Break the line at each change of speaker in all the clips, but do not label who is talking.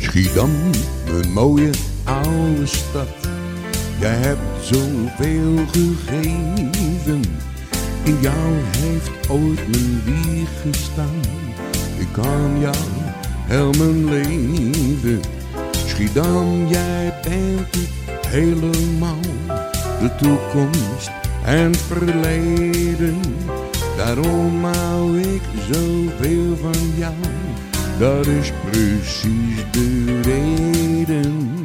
Schiedam, een mooie oude stad. Jij hebt zoveel gegeven. In jou heeft ooit mijn wieg gestaan. Ik kan jou heel mijn leven. Schiedam, jij bent het helemaal. De toekomst en verleden. Daarom hou ik zoveel van jou. Dat is precies de reden.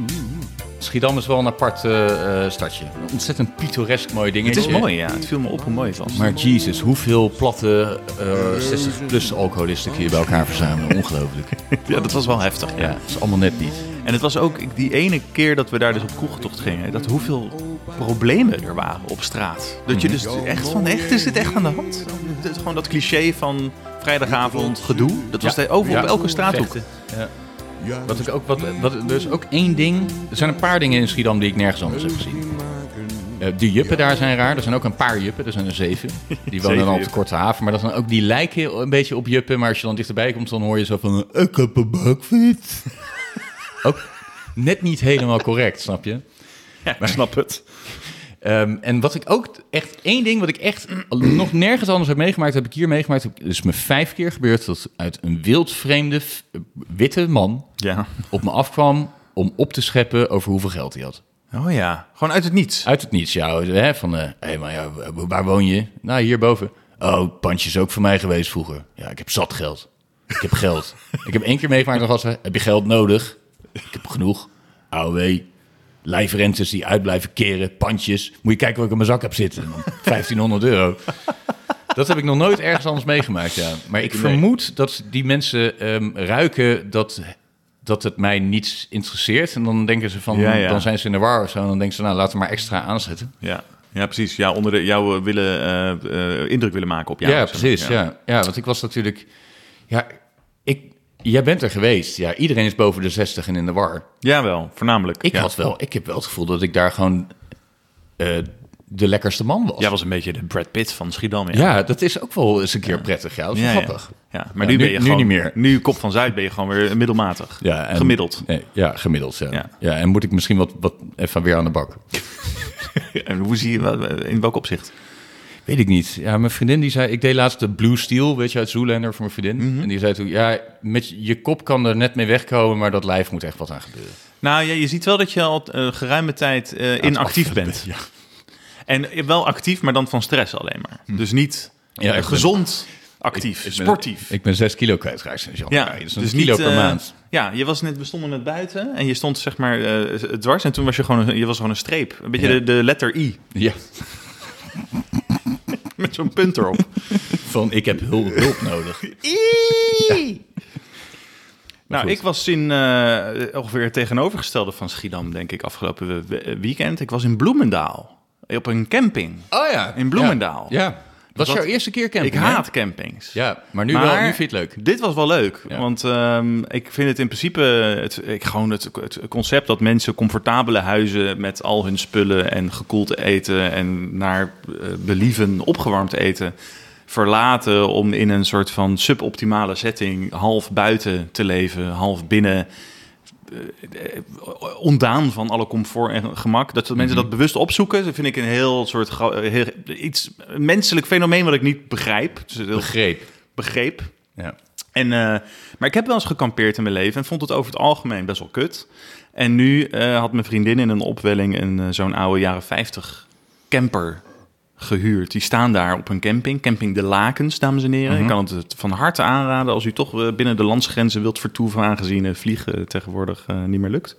Schiedam is wel een apart eh, eh, stadje. Ontzettend pittoresk mooie dingen.
Het is mooi, ja. Het viel me op hoe mooi het was.
Maar Jesus, hoeveel platte eh 60-plus alcoholisten kun je bij elkaar verzamelen? Ongelooflijk.
ja, dat was wel heftig,
Ja,
ja.
dat is allemaal net niet.
En het was ook die ene keer dat we daar dus op kroegtocht gingen, dat hoeveel problemen er waren op straat. Dat je dus echt van, echt, is dit echt aan de hand? Het is Gewoon dat cliché van vrijdagavond gedoe. Dat was de, over op elke straathoek.
Vechten. Ja. Wat
dus
ik ook, wat, wat, er is ook één ding. Er zijn een paar dingen in Schiedam die ik nergens anders heb gezien. Eh, die juppen daar zijn raar. Er zijn ook een paar juppen. Er zijn er zeven. Die wonen
Zeven
dan op de
juppen.
Korte Haven. Maar dat zijn ook die lijken een beetje op juppen. Maar als je dan dichterbij komt, dan hoor je zo van... eh, Ik heb een bakfiets. ook net niet helemaal correct, snap je?
Ja, ik snap het.
Ehm, en wat ik ook echt, één ding wat ik echt nog nergens anders heb meegemaakt, heb ik hier meegemaakt. Het is me vijf keer gebeurd dat uit een wildvreemde f- witte man
Ja.
op me afkwam om op te scheppen over hoeveel geld hij had.
Oh ja, gewoon uit het niets.
Uit het niets, ja. Hè, van, eh, hé, maar ja, w- waar woon je? Nou, hierboven. Oh, pandje is ook van mij geweest vroeger. Ja, ik heb zat geld. Ik heb geld. ik heb één keer meegemaakt nog als heb je geld nodig? Ik heb genoeg. AOW, lijfrentes die uit blijven keren, pandjes. Moet je kijken wat ik in mijn zak heb zitten. 1500 euro. Dat heb ik nog nooit ergens anders meegemaakt, ja. Maar ik vermoed dat die mensen ehm, ruiken dat, dat het mij niets interesseert. En dan denken ze van,
Ja, ja.
dan zijn ze in de war of zo. En dan denken ze, nou, laten we maar extra aanzetten.
Ja, ja precies. Ja, onder de, jou eh, willen, eh, eh, indruk willen maken op jou.
Ja,
zeg maar.
precies. Ja. Ja. want ik was natuurlijk... Ja, ik, jij bent er geweest. Ja, iedereen is boven de 60 en in de war.
Jawel, voornamelijk.
Ik,
ja.
had wel, ik heb wel het gevoel dat ik daar gewoon eh, de lekkerste man was.
Jij was een beetje de Brad Pitt van Schiedam, ja.
Ja, dat is ook wel eens een keer prettig. Ja, dat is wel
Ja, ja.
grappig.
Ja, maar
Ja,
nu, ben
nu-
je
nu
gewoon,
niet meer.
Nu kop van Zuid ben je gewoon weer middelmatig.
Ja, en-
Gemiddeld.
Nee, ja, gemiddeld. Ja. Ja.
Ja.
en moet ik misschien wat, wat even weer aan de bak?
En hoe zie je, wel- in welk opzicht?
Weet ik niet. Ja, mijn vriendin die zei, ik deed laatst de Blue Steel, weet je, uit Zoolander voor mijn vriendin. En die zei toen, ja, met je- je kop kan er net mee wegkomen, maar dat lijf moet echt wat aan gebeuren.
Nou, ja, je ziet wel dat je al eh, geruime tijd eh, inactief bent. En eh, wel actief, maar dan van stress alleen maar. Dus niet
Hm. Ja,
eh,
ik ben-
gezond actief,
Ik ben-
sportief.
Ik ben zes kilo kwijtgeraakt sinds
ja,
januari. Ja, dus
dus
een
niet,
kilo per
eh,
maand.
Ja, je was net, we stonden net buiten en je stond zeg maar eh, dwars. En toen was je gewoon een, je was gewoon een streep. Een beetje
Ja.
de, de letter I
Ja,
met zo'n punt erop.
van ik heb hulp, hulp nodig.
Nou,
goed.
ik was in eh, ongeveer het tegenovergestelde van Schiedam, denk ik, afgelopen we- we- weekend. Ik was in Bloemendaal, op een camping.
Oh ja.
In Bloemendaal.
Ja. Was
Wat-
jouw eerste keer camping?
ik
hè?
haat campings.
Ja, maar nu
Maar-
wel. Nu vind je het leuk.
Dit was wel leuk,
Ja.
want ehm, ik vind het in principe het, ik, gewoon het, het concept dat mensen comfortabele huizen met al hun spullen en gekoeld eten en naar eh, believen opgewarmd eten verlaten om in een soort van suboptimale setting half buiten te leven, half binnen. eh, eh, Ontdaan van alle comfort en gemak. Dat
Mhm.
mensen dat bewust opzoeken, dat vind ik een heel soort gro- heel, iets een menselijk fenomeen wat ik niet begrijp. Dus heel
Begreep.
begreep.
Ja.
En, eh, maar ik heb wel eens gekampeerd in mijn leven en vond het over het algemeen best wel kut. En nu eh, had mijn vriendin in een opwelling een eh, zo'n oude jaren 50 camper gehuurd. Die staan daar op een camping, camping De Lakens, dames en heren.
Mhm.
Ik kan het van harte aanraden als u toch eh, binnen de landsgrenzen wilt vertoeven, aangezien eh, vliegen tegenwoordig eh, niet meer lukt.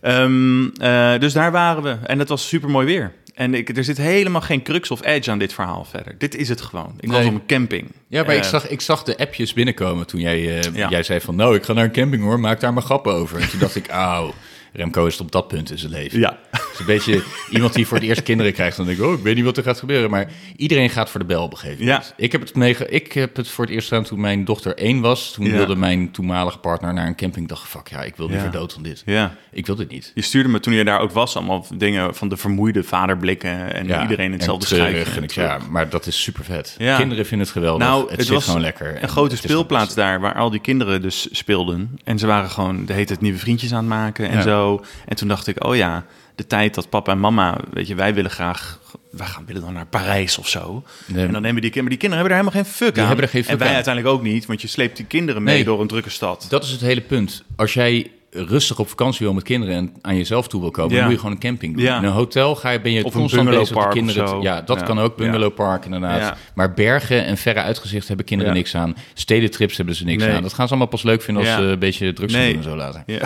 Ehm, eh, dus daar waren we. En het was super mooi weer. En ik, er zit helemaal geen crux of edge aan dit verhaal verder. Dit is het gewoon. Ik was
Nee.
op een camping.
Ja, maar ik,
Eh,
zag, ik zag de appjes binnenkomen toen jij, eh,
Ja.
jij zei van... nou, ik ga naar een camping hoor, maak daar maar grappen over. En toen dacht ik, auw, Remco is het op dat punt in zijn leven.
Ja.
is een beetje iemand die voor het eerst kinderen krijgt. Dan denk ik, oh, ik weet niet wat er gaat gebeuren. Maar iedereen gaat voor de bel op een gegeven moment.
Ja.
Ik, heb het meege, ik heb het voor het eerst gedaan toen mijn dochter één was. Toen
Ja.
wilde mijn toenmalige partner naar een camping. Ik dacht, fuck ja, ik wil liever
Ja.
dood dan dit.
Ja.
Ik wil dit niet.
Je stuurde me toen je daar ook was allemaal dingen van de vermoeide vaderblikken en iedereen in hetzelfde
en treurig
schuitje.
en ik- Ja, maar dat is super vet.
Ja.
Kinderen vinden het geweldig.
Nou,
het,
het,
zit
was
gewoon lekker.
een
En het
grote
is gewoon
speelplaats daar waar al die kinderen dus speelden. En ze waren gewoon de hele tijd nieuwe vriendjes aan het maken en
Ja.
zo. En toen dacht ik, oh ja, de tijd dat papa en mama, weet je, wij willen graag, wij gaan willen dan naar Parijs of zo.
Nee.
En dan nemen we die kinderen, maar die kinderen hebben er helemaal geen fuck aan.
hebben er geen fuck
en wij
aan.
uiteindelijk ook niet, want je sleept die kinderen mee
Nee.
door een drukke stad.
Dat is het hele punt. Als jij rustig op vakantie wil met kinderen en aan jezelf toe wil komen,
Ja.
dan moet je gewoon een camping doen.
Ja.
In een hotel ga je, ben je
Of een
constant bezig met de
bungalowpark of
kinderen.
zo.
te- ja, dat
Ja.
kan ook, bungalowpark inderdaad.
Ja.
Maar bergen en verre uitgezicht hebben kinderen
Ja.
niks aan. Stedentrips hebben ze niks
Nee.
aan. Dat gaan ze allemaal pas leuk vinden als
Ja.
ze een beetje drugs gaan
Nee.
doen en zo later.
Ja.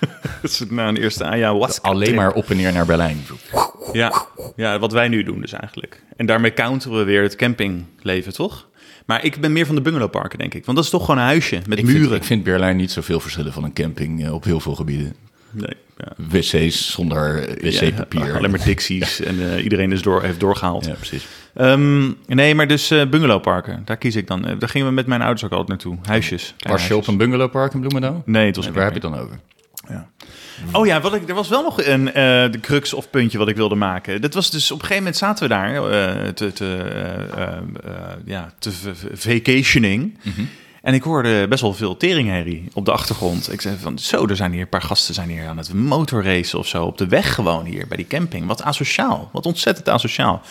dat is het na een eerste aan, ja, wat
Alleen maar op en neer naar Berlijn.
Ja, ja, wat wij nu doen dus eigenlijk. En daarmee counteren we weer het campingleven, toch? Maar ik ben meer van de bungalowparken, denk ik. Want dat is toch gewoon een huisje met
Ik
muren.
vind, ik vind Berlijn niet zoveel verschillen van een camping eh, op heel veel gebieden.
Nee, ja.
Wc's zonder eh, wc-papier.
Ja, alleen maar dicties en eh, iedereen is door, heeft doorgehaald.
Ja, precies.
Ehm, nee, maar dus eh, bungalowparken, daar kies ik dan. Eh, daar gingen we met mijn ouders ook altijd naartoe. Huisjes. kleine
Was je op
huisjes.
een bungalowpark in Bloemendaal?
Nee, het was
Waar heb je het dan over?
Oh ja, wat ik, er was wel nog een eh, de crux of puntje wat ik wilde maken. Dat was dus op een gegeven moment zaten we daar eh, te, te, eh, eh, eh, ja, te v- v- vacationing. En ik hoorde best wel veel teringherrie op de achtergrond. Ik zei van, zo, er zijn hier een paar gasten zijn hier aan het motorracen of zo. Op de weg gewoon hier, bij die camping. Wat asociaal, wat ontzettend asociaal.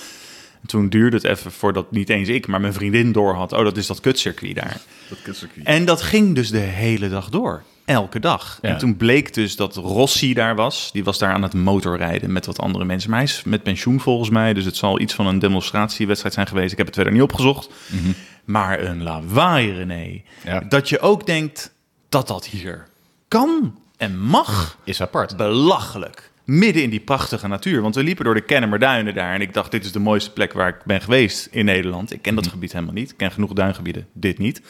En toen duurde het even voordat niet eens ik, maar mijn vriendin doorhad. Oh, dat is dat kutcircuit daar. En dat ging dus de hele dag door. Elke dag.
Ja.
En toen bleek dus dat Rossi daar was. Die was daar aan het motorrijden met wat andere mensen. Maar hij is met pensioen volgens mij. Dus het zal iets van een demonstratiewedstrijd zijn geweest. Ik heb het verder niet opgezocht. Maar een lawaai, René.
Mhm. Ja.
Dat je ook denkt dat dat hier kan en mag.
Is apart.
Belachelijk. Midden in die prachtige natuur. Want we liepen door de Kennemerduinen daar. En ik dacht, dit is de mooiste plek waar ik ben geweest in Nederland. Ik ken
Mhm.
dat gebied helemaal niet. Ik ken genoeg duingebieden, dit niet.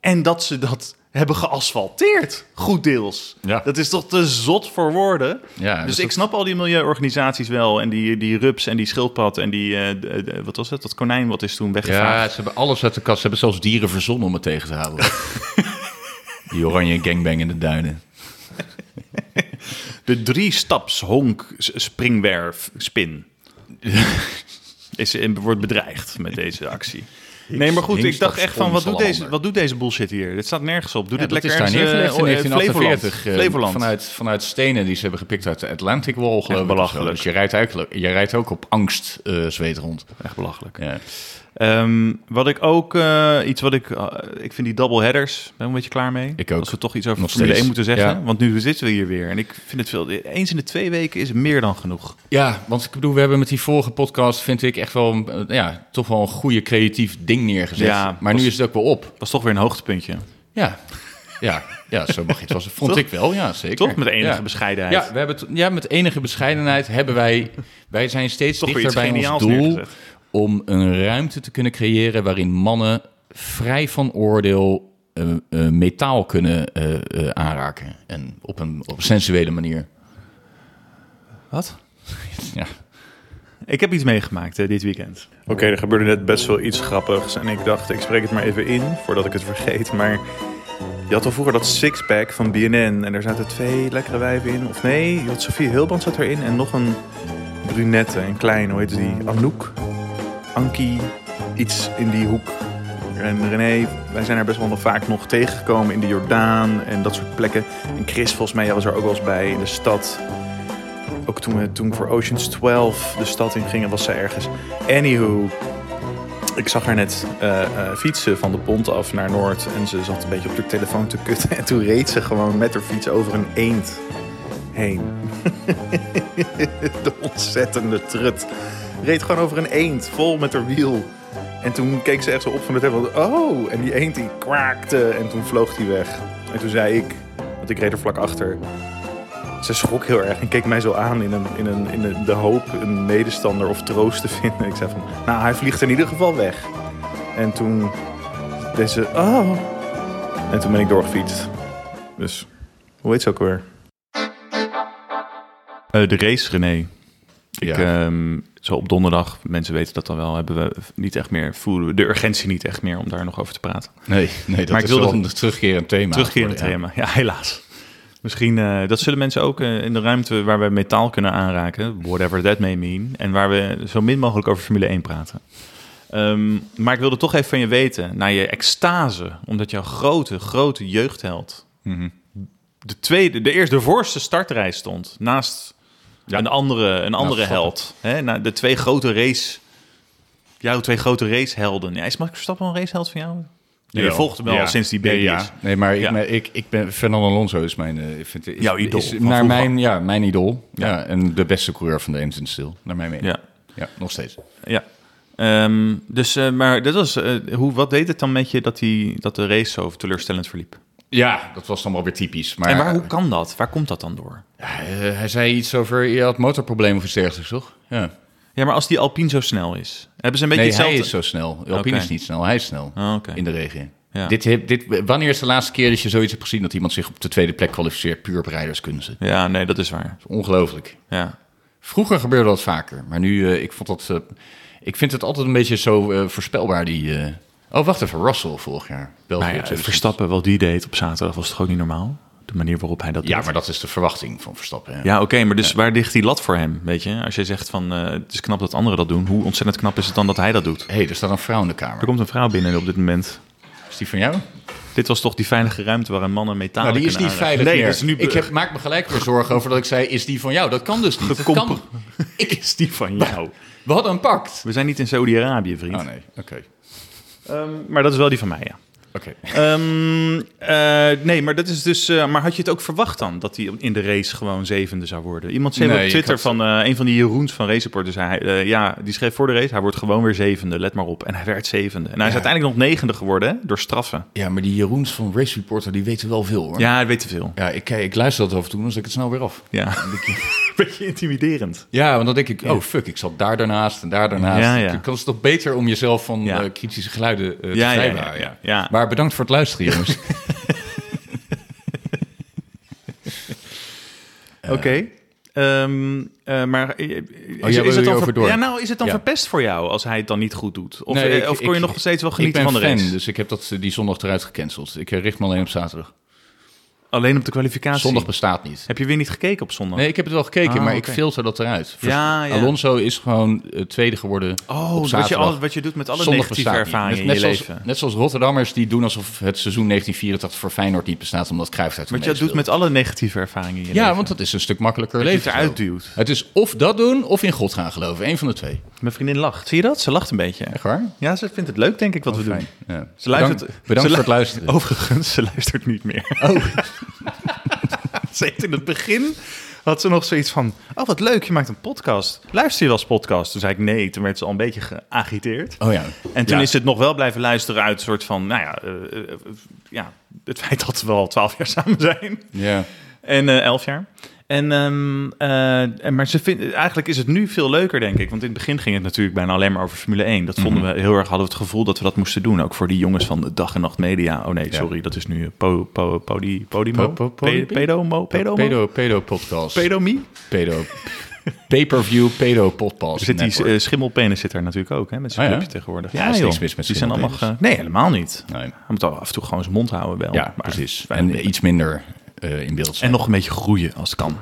En dat ze dat hebben geasfalteerd, goed deels.
Ja.
Dat is toch te zot voor woorden?
Ja,
dus
dus
ik
dat-
snap al die milieuorganisaties wel. En die, die rups en die schildpad en die... eh, d- d- wat was het? Dat konijn wat is toen weggevaagd.
Ja, ze hebben alles uit de kast. Ze hebben zelfs dieren verzonnen om het tegen te houden. Die oranje gangbang in de duinen.
De drie staps honk s- springwerf spin. Is, in- wordt bedreigd met deze actie. Nee, maar goed, ik dacht
Hinkstaps
echt van, wat doet,
Onselander.
deze, wat doet deze bullshit hier? Dit staat nergens op. Doe
Ja,
dit
dat
lekker
is daar
ergens, eh,
neergelegd in
oh, eh, Flevoland.
1948. eh,
Flevoland.
Vanuit, vanuit stenen die ze hebben gepikt uit de Atlantic Wall, geloof ik.
belachelijk.
Dus je rijdt, eigenlijk, je rijdt ook op angst eh, zweet rond.
Echt belachelijk.
Ja.
Ehm, wat ik ook, eh, iets wat ik, ah, ik vind die doubleheaders, ben ik een beetje klaar mee.
Ik ook.
Als we toch iets over
Nog
Formule
steeds.
1 moeten zeggen,
Ja.
want nu zitten we hier weer. En ik vind het veel, eens in de twee weken is meer dan genoeg.
ja, want ik bedoel, we hebben met die vorige podcast, vind ik, echt wel, een, eh, ja, toch wel een goede creatief ding neergezet.
Ja,
maar
was-
nu is het ook wel op.
Was toch weer een hoogtepuntje.
Ja, ja, ja zo mag je het wel zeggen. Vond
Toch?
ik wel, ja, zeker.
Toch? Met enige
Ja.
bescheidenheid.
Ja, we hebben het- ja, met enige bescheidenheid hebben wij... Wij zijn steeds
Toch weer
dichter
iets
bij ons
geniaals
doel...
neergezet.
om een ruimte te kunnen creëren... waarin mannen vrij van oordeel eh, eh, metaal kunnen eh, eh, aanraken. En op een op sensuele manier.
Wat?
Ja.
Ik heb iets meegemaakt eh, dit weekend. Oké, er gebeurde net best wel iets grappigs. En ik dacht, ik spreek het maar even in voordat ik het vergeet. Maar je had al vroeger dat sixpack van BNN. En daar zaten twee lekkere wijven in. Of nee, je had Sofie Hilband zat erin. En nog een brunette, een klein, hoe heette die? Anouk? Anki? Iets in die hoek. En René, wij zijn er best wel nog vaak nog tegengekomen in de Jordaan en dat soort plekken. En Chris, volgens mij, jij was er ook wel eens bij in de stad. Ook toen we toen voor Oceans 12 de stad in gingen, was ze ergens. Anywho, ik zag haar net eh, eh, fietsen van de pont af naar Noord. En ze zat een beetje op haar telefoon te kutten. En toen reed ze gewoon met haar fiets over een eend heen. de ontzettende trut. Reed gewoon over een eend, vol met haar wiel. En toen keek ze echt zo op van het hemel. Oh, en die eend die kwaakte. En toen vloog die weg. En toen zei ik, want ik reed er vlak achter. Ze schrok heel erg en keek mij zo aan in, een, in, een, in een- de hoop een medestander of troost te vinden. Ik zei van, nou, hij vliegt in ieder geval weg. En toen deed ze, oh. En toen ben ik doorgefietst. Dus, hoe heet ze ook weer? Eh, de race, René. Ik,
Ja.
ehm, zo op donderdag, mensen weten dat dan wel, hebben we niet echt meer, voelen we de urgentie niet echt meer om daar nog over te praten.
Nee, nee dat
Maar ik
is
wilde-
wel een terugkerend thema.
Terugkerend
geworden, ja.
thema, ja, helaas. Misschien, eh, dat zullen mensen ook eh, in de ruimte waar we metaal kunnen aanraken, whatever that may mean, en waar we zo min mogelijk over Formule 1 praten. Ehm, maar ik wilde toch even van je weten, naar je extase, omdat jouw grote, grote jeugdheld
Mhm.
de tweede, de eerste, de voorste startreis stond naast een andere, een andere
Verstappen.
held. Hè? Na de twee grote race, jouw twee grote racehelden. Ja, is Max Verstappen een raceheld van jou? Je
Jawel.
volgt hem wel
Ja.
al sinds die baby
nee, ja.
is.
Nee, maar ik,
Ja.
maar ik, ik ben Fernando Alonso is mijn eh, ik vind, is,
Jouw idool
is
van
naar
vroeger.
mijn, ja, mijn idool. Ja. en de beste coureur van de Emerson Stil, naar mijn mening.
Ja.
ja, nog steeds.
Ja. Ehm, dus, eh, maar dat was, eh, hoe, wat deed het dan met je dat, die, dat de race zo teleurstellend verliep?
Ja, dat was dan wel weer typisch. Maar
en waar, hoe kan dat? Waar komt dat dan door?
Eh, hij zei iets over, je had motorproblemen of iets dergelijks, toch? Ja.
Ja, maar als die Alpine zo snel is, hebben ze een beetje
Nee, hij
hetzelfde...
is zo snel. Alpine
Oké.
is niet snel, hij is snel.
Ah, oké.
In de regen.
Ja.
Dit, heb- dit, wanneer is de laatste keer dat je zoiets hebt gezien... dat iemand zich op de tweede plek kwalificeert puur op rijderskunsten?
Ja, nee, dat is waar.
Ongelooflijk.
Ja.
Vroeger gebeurde dat vaker, maar nu, eh, ik vond dat... eh, ik vind het altijd een beetje zo eh, voorspelbaar, die... eh, Oh, wacht even, Russell vorig jaar. België
Maar Nou ja,
2000.
Verstappen, wat die deed op zaterdag, was toch ook niet normaal? De manier waarop hij dat
Ja,
deed.
maar dat is de verwachting van Verstappen. hè.
Ja, oké, maar dus waar ligt die lat voor hem, weet je? Als jij zegt van, eh, het is knap dat anderen dat doen, hoe ontzettend knap is het dan dat hij dat doet?
hey, er staat een vrouw in de kamer.
Er komt een vrouw binnen op dit moment.
Is die van jou?
Dit was toch die veilige ruimte waar een man en metaal
Nou, die is niet veilig
Nee,
meer.
dat is nu
ik heb, maak me gelijk weer zorgen over dat ik zei, is die van jou? Dat kan dus niet. Dat
Gecomp-
kan. Ik,
is die van jou.
we hadden een pact.
Nou. We zijn niet in Saudi-Arabië, vriend.
Nou. Oh nee, oké.
Ehm, maar dat is wel die van mij, ja.
Oké.
Ehm, eh, nee, maar dat is dus. eh, maar had je het ook verwacht dan dat hij in de race gewoon zevende zou worden? Iemand zei
Nee,
op
ik
Twitter
had-
van eh, een van die Jeroens van Race Reporter zei hij, eh, ja, die schreef voor de race, hij wordt gewoon weer zevende. Let maar op. En hij werd zevende. En hij is uiteindelijk nog negende geworden hè, door straffen.
Ja, maar die Jeroens van Race Reporter, die weten wel veel hoor.
Ja, hij weet te veel.
Ja, ik, ik luister dat af en toe, dan zet ik het snel weer af.
Ja. Beetje intimiderend.
Ja, want dan denk ik, oh fuck, ik zat daar daarnaast en daar daarnaast.
Ja, ja.
Ik kan het toch beter om jezelf van
Ja.
eh, kritische geluiden eh, te
Ja, ja,
vrijwaren.
ja, ja, ja.
Maar bedankt voor het luisteren, jongens.
Oké. Ehm, eh, maar eh,
Eh, Oh, wil hier
dan
over
ver-
door.
ja, nou, is het dan
Ja.
verpest voor jou als hij het dan niet goed doet? Of,
Nee,
eh,
ik-
of kon je
ik-
nog steeds wel
ik
genieten
ben
van de
fan,
race?
dus ik heb dat, eh, die zondag eruit gecanceld. Ik eh, richt me alleen op zaterdag.
Alleen op de kwalificatie.
Zondag bestaat niet.
Heb je weer niet gekeken op zondag?
Nee, ik heb het wel gekeken,
Ah,
maar
oké.
ik filter dat eruit. Vers-
Ja, ja.
Alonso is gewoon eh, tweede geworden
Oh,
op
wat je,
zaterdag.
al, wat je doet met alle
Zondag
negatieve
bestaat niet.
ervaringen in
net,
je
zoals,
leven.
Net zoals Rotterdammers die doen alsof het seizoen 1984 voor Feyenoord niet bestaat omdat Cruijff uit
Wat je doet met alle negatieve ervaringen in je
Ja,
leven.
want dat is een stuk makkelijker
Dat je
leven.
het eruit
zo.
duwt.
Het is of dat doen of in God gaan geloven. Eén van de twee.
Mijn vriendin lacht. Zie je dat? Ze lacht een beetje.
Echt waar?
Ja, ze vindt het leuk, denk ik, wat we doen.
Fijn. Ja.
Ze luistert,
bedankt bedankt
ze
voor het
lu- Oh.
luisteren.
Overigens, ze luistert niet meer. Oh. ze heeft in het begin had ze nog zoiets van... Oh, wat leuk, je maakt een podcast. Luister je wel eens podcast? Toen zei ik nee. Toen werd ze al een beetje geagiteerd.
Oh ja.
En toen
Ja.
is het nog wel blijven luisteren uit een soort van... Nou ja, eh, eh, eh, ja het feit dat we al twaalf jaar samen zijn.
Ja.
En eh, elf jaar. En, ehm, eh, en- maar ze vindt, eigenlijk is het nu veel leuker, denk ik. Want in het begin ging het natuurlijk bijna alleen maar over Formule 1. Dat vonden we heel erg, hadden we het gevoel dat we dat moesten doen. Ook voor die jongens van de dag en nacht media. Oh nee,
Ja.
sorry, dat is nu eh, po, po, podi, Podimo?
Po- po-
Pe-
Podimo?
Pedomo? Pedomo?
Pedo, pedo podcast.
Pedomie?
Pedo. Pay-per-view, pedo podcast.
Er zit die
network.
eh, schimmelpenis zit daar natuurlijk ook, hè, met zijn
Ah, ja?
clubje tegenwoordig.
Ja, is
Oh joh,
niks mis met
die zijn allemaal
schimmelpenis.
ge- Nee, helemaal niet.
Nee.
Hij moet af en toe gewoon zijn mond houden wel.
Ja,
Maar-
precies. En iets minder eh, in beeld zijn.
En nog een beetje groeien als het kan.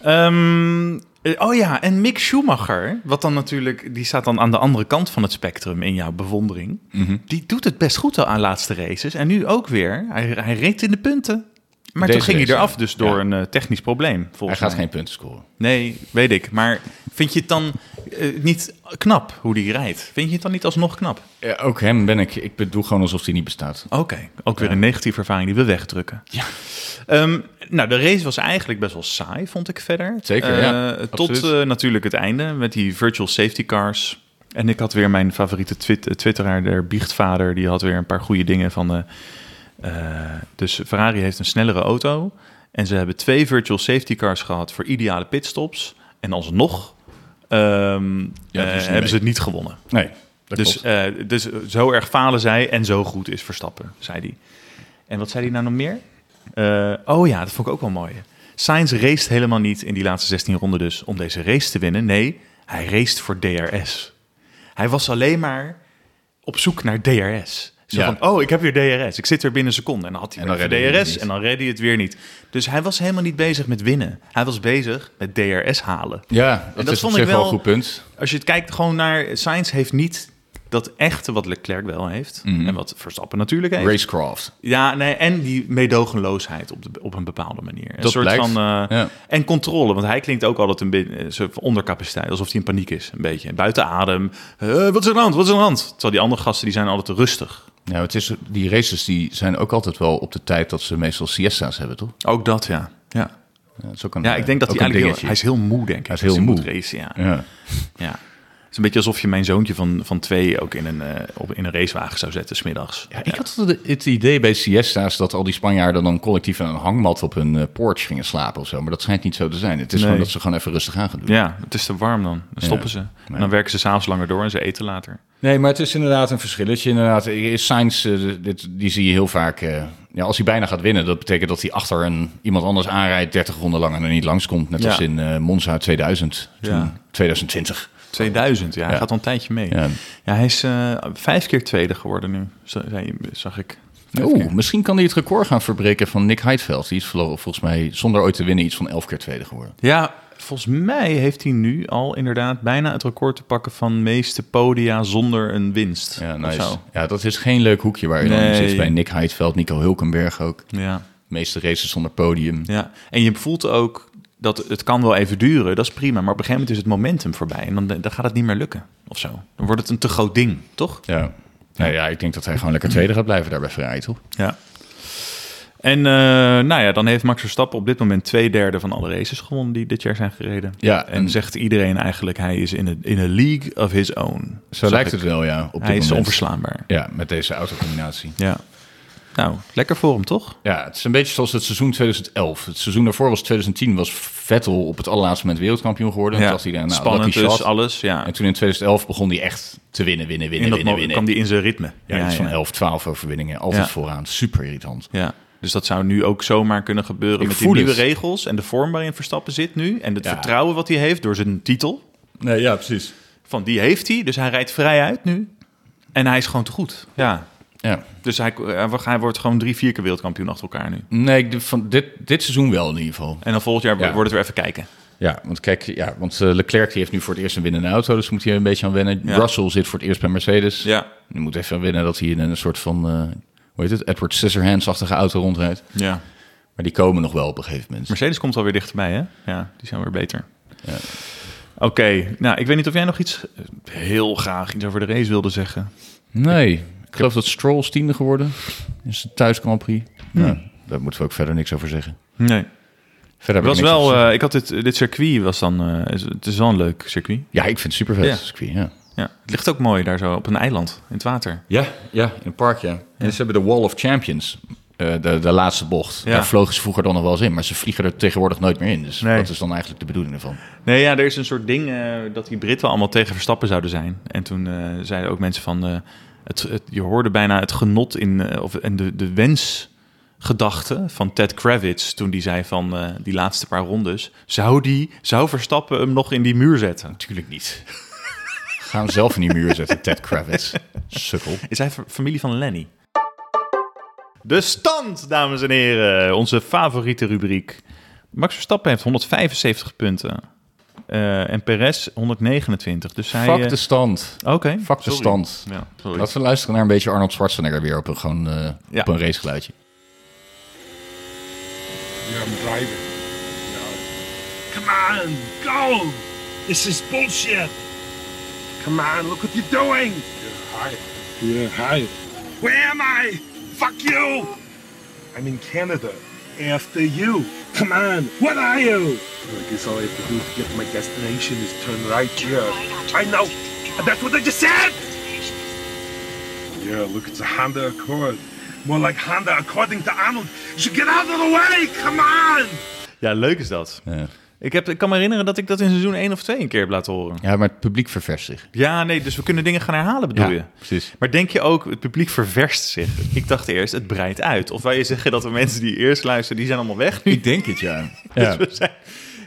Ehm, eh, oh ja, en Mick Schumacher, wat dan natuurlijk, die staat dan aan de andere kant van het spectrum in jouw bewondering.
Mhm.
Die doet het best goed al aan laatste races. En nu ook weer. Hij, hij reed in de punten. Maar
Deze
toen ging hij
race,
eraf,
ja.
dus door
Ja.
een eh, technisch probleem.
Hij
Volgens
gaat
mij.
geen punten scoren.
Nee, weet ik. Maar vind je het dan eh, niet knap hoe die rijdt? Vind je het dan niet alsnog knap?
Ja, ook hem ben ik. Ik bedoel gewoon alsof hij niet bestaat.
Oké, ook weer een negatieve ervaring die we wegdrukken. Ja. nou, de race was eigenlijk best wel saai, vond ik verder.
Zeker,
Eh,
ja.
Tot
Absoluut.
eh, natuurlijk het einde met die virtual safety cars. En ik had weer mijn favoriete twit- eh, twitteraar, de biechtvader, die had weer een paar goede dingen van... eh, eh, dus Ferrari heeft een snellere auto en ze hebben twee virtual safety cars gehad voor ideale pitstops. En alsnog ehm, eh,
doen ze dus niet
hebben
mee.
ze het niet gewonnen.
Nee, dat
Dus,
klopt.
eh, dus zo erg falen zij en zo goed is Verstappen, zei hij. En wat zei hij nou nog meer? Eh, oh ja, dat vond ik ook wel mooi. Sainz raced helemaal niet in die laatste 16 ronden dus om deze race te winnen. Nee, hij raced voor DRS. Hij was alleen maar op zoek naar DRS. Zo
Ja.
van, oh, ik heb weer DRS. Ik zit er binnen een seconde. En dan had hij
En
weer
dan redde hij het
DRS
niet.
en dan redde hij het weer niet. Dus hij was helemaal niet bezig met winnen. Hij was bezig met DRS halen.
eh, Ja, dat,
dat
is
vond
op
ik
zich wel
wel-
een goed punt.
Als je het kijkt gewoon naar... Sainz heeft niet dat echte wat Leclerc wel heeft.
Mhm.
En wat Verstappen natuurlijk heeft.
Racecraft.
Ja, nee, en die meedogenloosheid op, de, op een bepaalde manier. Een
Dat
soort
blijkt,
van. eh,
ja.
En controle, want hij klinkt ook altijd een beetje eh, soort van ondercapaciteit, alsof hij in paniek is, een beetje. Buiten adem. Eh, wat is er aan de hand? Wat is er aan de hand? Terwijl die andere gasten die zijn altijd te rustig.
Nou, het is, die races die zijn ook altijd wel op de tijd dat ze meestal siesta's hebben, toch?
Ook dat, ja. Ja,
Ja, dat is ook een,
ja ik denk dat
ook
hij
een
eigenlijk. Heel,
dingetje.
hij is heel moe, denk ik.
Hij is heel
als
moe.
moet Racen, ja.
Ja.
ja. Het is een beetje alsof je mijn zoontje van, van twee ook in een, eh, op, in een racewagen zou zetten, smiddags.
Ja, ik had altijd het idee bij siesta's dat al die Spanjaarden dan collectief aan een hangmat op hun eh, porch gingen slapen of zo. Maar dat schijnt niet zo te zijn. Het is gewoon dat ze gewoon even rustig aan gaan doen.
Ja, het is te warm dan. Dan stoppen ze. En dan werken ze s'avonds langer door en ze eten later.
Nee, maar het is inderdaad een verschilletje. Inderdaad, eh, Sainz, eh, dit, die zie je heel vaak. eh, ja, als hij bijna gaat winnen, dat betekent dat hij achter een, iemand anders aanrijdt 30 ronden lang en er niet langskomt. Net
Ja.
als in eh, Monza 2000, toen,
Ja.
2020.
2000, ja. Hij
Ja.
gaat al een tijdje mee.
Ja.
Ja, hij is eh, vijf keer tweede geworden nu, zo- zei- zag ik. Vijf
Oeh,
keer.
misschien kan hij het record gaan verbreken van Nick Heidveld. Die is verlo- volgens mij zonder ooit te winnen iets van 11 keer tweede geworden.
Ja, volgens mij heeft hij nu al inderdaad bijna het record te pakken van meeste podia zonder een winst.
Ja,
Of
nice.
zo.
ja, dat is geen leuk hoekje waar je dan in
Nee.
zit bij Nick Heidveld, Nico Hulkenberg ook.
Ja,
De meeste races zonder podium.
ja. En je voelt ook dat het kan wel even duren, dat is prima. Maar op een gegeven moment is het momentum voorbij en dan, dan gaat het niet meer lukken of zo. Dan wordt het een te groot ding, toch?
Ja. Nou ja, ik denk dat hij gewoon lekker tweede gaat blijven daar bij Ferrari, toch?
Ja. En eh, nou ja, dan heeft Max Verstappen op dit moment twee derde van alle races gewonnen die dit jaar zijn gereden.
Ja,
en,
en-
zegt iedereen eigenlijk hij is in een in een league of his own.
Zo
Zag
lijkt
ik.
het wel, ja. Op dit
Hij is
moment.
onverslaanbaar.
Ja, met deze autocombinatie.
Ja. Nou, lekker voor hem toch?
Ja, het is een beetje zoals het seizoen 2011. Het seizoen daarvoor was 2010, was Vettel op het allerlaatste moment wereldkampioen geworden. Toen was hij daar, nou,
Spannend
lucky
dus,
shot.
alles. Ja.
En toen in 2011 begon hij echt te winnen, winnen,
in
winnen,
dat
winnen,
moment
winnen.
kwam hij in zijn ritme.
Ja, iets van 11, 12 overwinningen. Altijd
Ja.
vooraan. Super irritant.
Ja. Dus dat zou nu ook zomaar kunnen gebeuren
Ik
met die
voel
nieuwe
het.
regels en de vorm waarin Verstappen zit nu. En het
Ja.
vertrouwen wat hij heeft door zijn titel.
Nee, ja, precies.
Van die heeft hij, dus hij rijdt vrij uit nu. En hij is gewoon te goed. Ja,
Ja.
Dus hij, hij wordt- hij wordt gewoon drie, vier keer wereldkampioen achter elkaar nu.
Nee, ik- van dit, dit seizoen wel in ieder geval.
En dan volgend jaar
Ja.
wordt het weer even kijken.
Ja, want kijk, ja, want eh, Leclerc die heeft nu voor het eerst een winnende auto, dus moet hij een beetje aan wennen.
Ja.
Russell zit voor het eerst bij Mercedes.
Ja.
Die moet even aan wennen dat hij in een soort van, eh, hoe heet het, Edward Scissorhands-achtige auto rondrijdt.
ja.
Maar die komen nog wel op een gegeven moment.
Mercedes komt alweer dichterbij, hè? Ja, die zijn weer beter. Oké, nou, ik weet niet of jij nog iets eh, heel graag iets over de race wilde zeggen.
Nee, ik geloof dat Stroll is tiende geworden. Is de thuis Grand Prix. Nou, daar moeten we ook verder niks over zeggen.
Nee.
Verder heb ik
Het was
niks over
wel,
te
eh, ik had dit, dit circuit was dan, eh, is- het is wel een leuk circuit.
zeggen. Ja, ik vind het super vet.
Ja.
ja.
Ja. Het ligt ook mooi daar zo op een eiland in het water.
Ja, ja, in het park, ja. En ze hebben de Wall of Champions, eh, de, de laatste bocht.
Ja.
Daar vlogen ze vroeger dan nog wel eens in, maar ze vliegen er tegenwoordig nooit meer in. Dus
Nee.
dat is dan eigenlijk de bedoeling ervan.
Nee, ja, er is een soort ding eh, dat die Britten allemaal tegen Verstappen zouden zijn. En toen eh, zeiden ook mensen van, eh, het, het, je hoorde bijna het genot in, eh, of, en de, de wensgedachte van Ted Kravitz toen die zei van eh, die laatste paar rondes. Zou, die, zou Verstappen hem nog in die muur zetten?
Natuurlijk niet. Ga hem zelf in die muur zetten, Ted Kravitz. Sukkel.
Is hij fa- familie van Lenny? De stand, dames en heren. Onze favoriete rubriek. Max Verstappen heeft 175 punten. Eh, en Perez 129. Dus hij...
Fuck
eh,
de stand.
Oké.
Fuck de
sorry.
stand.
Ja, sorry.
Laten we luisteren naar een beetje Arnold Schwarzenegger weer op een, gewoon, eh,
Ja.
op een racegeluidje.
Yeah, I'm driving. Come on, go! This is bullshit! Come on, look what you're doing! You're high. You're high. Where am I? Fuck you! I'm in Canada. After you. Come on, what are you? I guess all I have to do to get to my destination is turn right here. I know! And that's what I just said! Yeah, look, it's a Honda Accord. More like Honda according to Arnold. You should get out of the way! Come on!
Ja, leuk is dat.
Ja.
Ik, heb, ik kan me herinneren dat ik dat in seizoen 1 of 2 een keer heb laten horen.
Ja, maar het publiek ververst zich.
Ja, nee, dus we kunnen dingen gaan herhalen, bedoel
Ja,
je?
precies.
Maar denk je ook, het publiek ververst zich? Ik dacht eerst, het breidt uit. Of wij zeggen dat de mensen die eerst luisteren, die zijn allemaal weg nu.
Ik denk het, ja. ja.
Dus we zijn-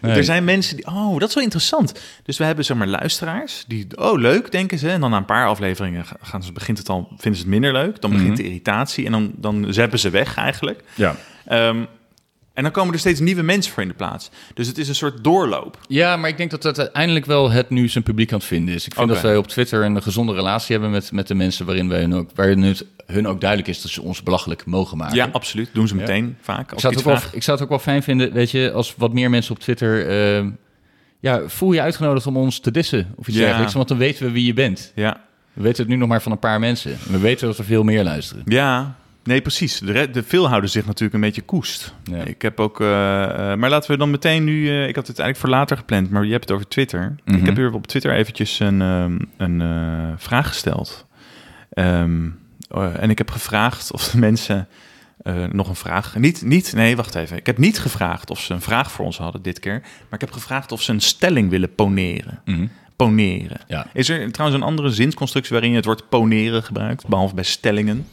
Er zijn mensen die... Oh, dat is wel interessant. Dus we hebben zomaar luisteraars die... Oh, leuk, denken ze. En dan na een paar afleveringen ga- gaan ze, begint het al, vinden ze het minder leuk. Dan begint de irritatie en dan, dan zeppen ze weg eigenlijk.
Mhm. Ja.
Ehm, en dan komen er steeds nieuwe mensen voor in de plaats. Dus het is een soort doorloop.
ja, maar ik denk dat dat uiteindelijk wel het nu zijn publiek aan het vinden is. Ik vind
Oké.
dat wij op Twitter een gezonde relatie hebben met, met de mensen... waarin, wij hun ook, waarin het hun ook duidelijk is dat ze ons belachelijk mogen maken.
Ja, absoluut. Doen ze meteen vaak.
Ik
Als
zou, het
ik iets
ook wel,
vraag.
ik zou het ook wel fijn vinden, weet je, als wat meer mensen op Twitter... eh, ja, voel je uitgenodigd om ons te dissen of iets
Ja.
dergelijks. Want dan weten we wie je bent.
Ja,
We weten het nu nog maar van een paar mensen. We weten dat er veel meer luisteren.
Ja, nee, precies. De, re- de veel houden zich natuurlijk een beetje koest.
Ja.
Ik heb ook. eh, eh, maar laten we dan meteen nu. eh, ik had het eigenlijk voor later gepland, maar je hebt het over Twitter.
Mhm.
Ik heb hier op Twitter eventjes een, ehm, een eh, vraag gesteld. Ehm, eh, en ik heb gevraagd of de mensen. eh, nog een vraag. Niet, niet, nee, wacht even. Ik heb niet gevraagd of ze een vraag voor ons hadden dit keer. Maar ik heb gevraagd of ze een stelling willen poneren. Poneren.
Mhm. Ja.
Is er trouwens een andere zinsconstructie waarin je het woord poneren gebruikt? Behalve bij stellingen.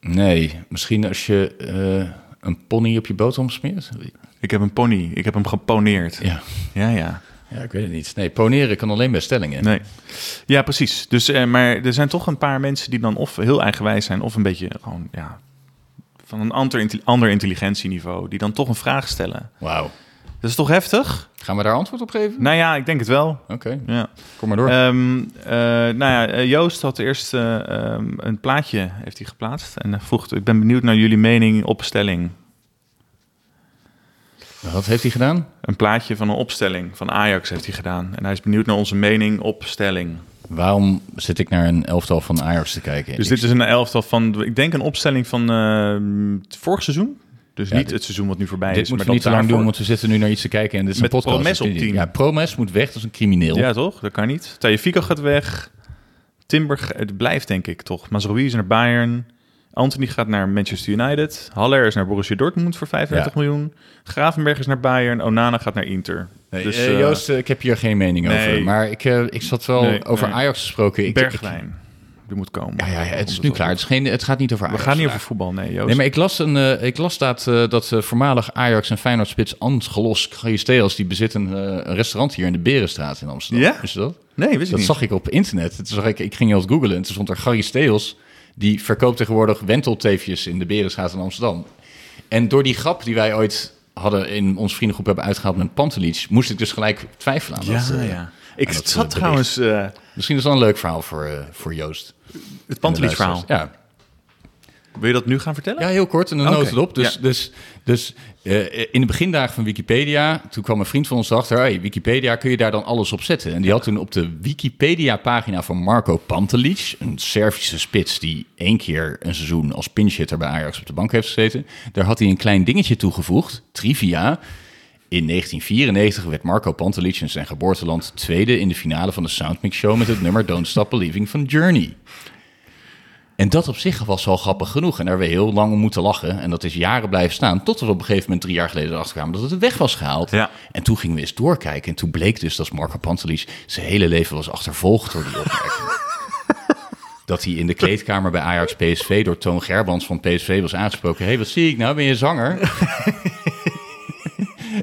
Nee, misschien als je eh, een pony op je boterham smeert?
Ik heb een pony. Ik heb hem geponeerd. Ja,
Ja.
ja.
ja, ik weet het niet. Nee, poneren kan alleen bij stellingen.
Nee. Ja, precies. Dus, eh, maar er zijn toch een paar mensen die dan of heel eigenwijs zijn... of een beetje gewoon, ja... van een ander, intelli- ander intelligentieniveau... die dan toch een vraag stellen.
Wauw.
Dat is toch heftig?
Gaan we daar antwoord op geven?
Nou ja, ik denk het wel.
Oké,
Ja.
kom maar door.
Ehm, eh, nou ja, eh, Joost had eerst eh, ehm, een plaatje heeft hij geplaatst... en hij vroeg, ik ben benieuwd naar jullie mening opstelling.
Eh, Wat heeft hij gedaan?
Een plaatje van een opstelling van Ajax heeft hij gedaan. En hij is benieuwd naar onze mening opstelling.
Waarom zit ik naar een elftal van Ajax te kijken?
Dus dit is een elftal van, ik denk een opstelling van eh, het vorig seizoen. Dus
Ja,
niet
dit-
het seizoen wat nu voorbij
Dit
is.
moeten we
maar
niet te
dat
lang doen,
daarvoor-
want we zitten nu naar iets te kijken en dit is
Met
een podcast.
Promes
dat
op
kun je niet.
tien.
Ja, Promes moet weg, dat is een crimineel.
Ja, toch? Dat kan niet. Tajefico gaat weg. Timber g- het blijft, denk ik, toch. Mazraoui is naar Bayern. Anthony gaat naar Manchester United. Haller is naar Borussia Dortmund voor 35
Ja.
miljoen. Gravenberg is naar Bayern. Onana gaat naar Inter.
Nee,
dus,
eh,
eh,
Joost, eh, ik heb hier geen mening
nee.
over. Maar ik, eh, ik zat wel
Nee,
over
nee.
Ajax gesproken. Ik, ik-
Bergwijn. Die moet komen.
ja, ja, ja, het is
Komt
nu
op.
klaar. Het, is geen, het gaat niet over
We
Ajax.
gaan niet
vandaag.
over voetbal, nee, Joost.
Nee, maar ik las, een, eh, ik las dat, eh, dat eh, voormalig Ajax en Feyenoord spits Angelos Gallesteros... die bezit een, eh, een restaurant hier in de Berenstraat in Amsterdam.
Ja?
Is dat?
nee, wist ik
Dat
niet.
zag ik op internet. Toen zag ik, ik ging heel googlen en toen stond er Gallesteros... die verkoopt tegenwoordig wentelteefjes in de Berenstraat in Amsterdam. En door die grap die wij ooit hadden in ons vriendengroep hebben uitgehaald met Pantelic... moest ik dus gelijk twijfelen aan dat.
Ja,
eh,
ja. Ik
aan dat, eh,
zat
bericht.
trouwens... eh,
Misschien is dat een leuk verhaal voor, eh, voor Joost.
het Pantelic-verhaal.
Ja.
Wil je dat nu gaan vertellen?
Ja, heel kort. En dan
Oké,
noot het op. Dus,
ja.
dus, dus eh, in de begindagen van Wikipedia, toen kwam een vriend van ons achter, hey, Wikipedia, kun je daar dan alles op zetten? En die had toen op de Wikipedia-pagina van Marco Pantelic, een Servische spits die één keer een seizoen als pinchhitter bij Ajax op de bank heeft gezeten, daar had hij een klein dingetje toegevoegd, trivia. In 1994 werd Marco Pantelic in zijn geboorteland tweede in de finale van de Soundmix Show met het nummer Don't Stop Believing van Journey. En dat op zich was al grappig genoeg. En daar hebben we heel lang om moeten lachen. En dat is jaren blijven staan. Tot we op een gegeven moment drie jaar geleden erachter kwamen dat het weg was gehaald.
Ja.
En toen gingen we eens doorkijken. En toen bleek dus dat Marco Pantelic zijn hele leven was achtervolgd door die opmerking. dat hij in de kleedkamer bij Ajax PSV door Toon Gerbrands van PSV was aangesproken. Hé, hey, wat zie ik nou? Ben je zanger?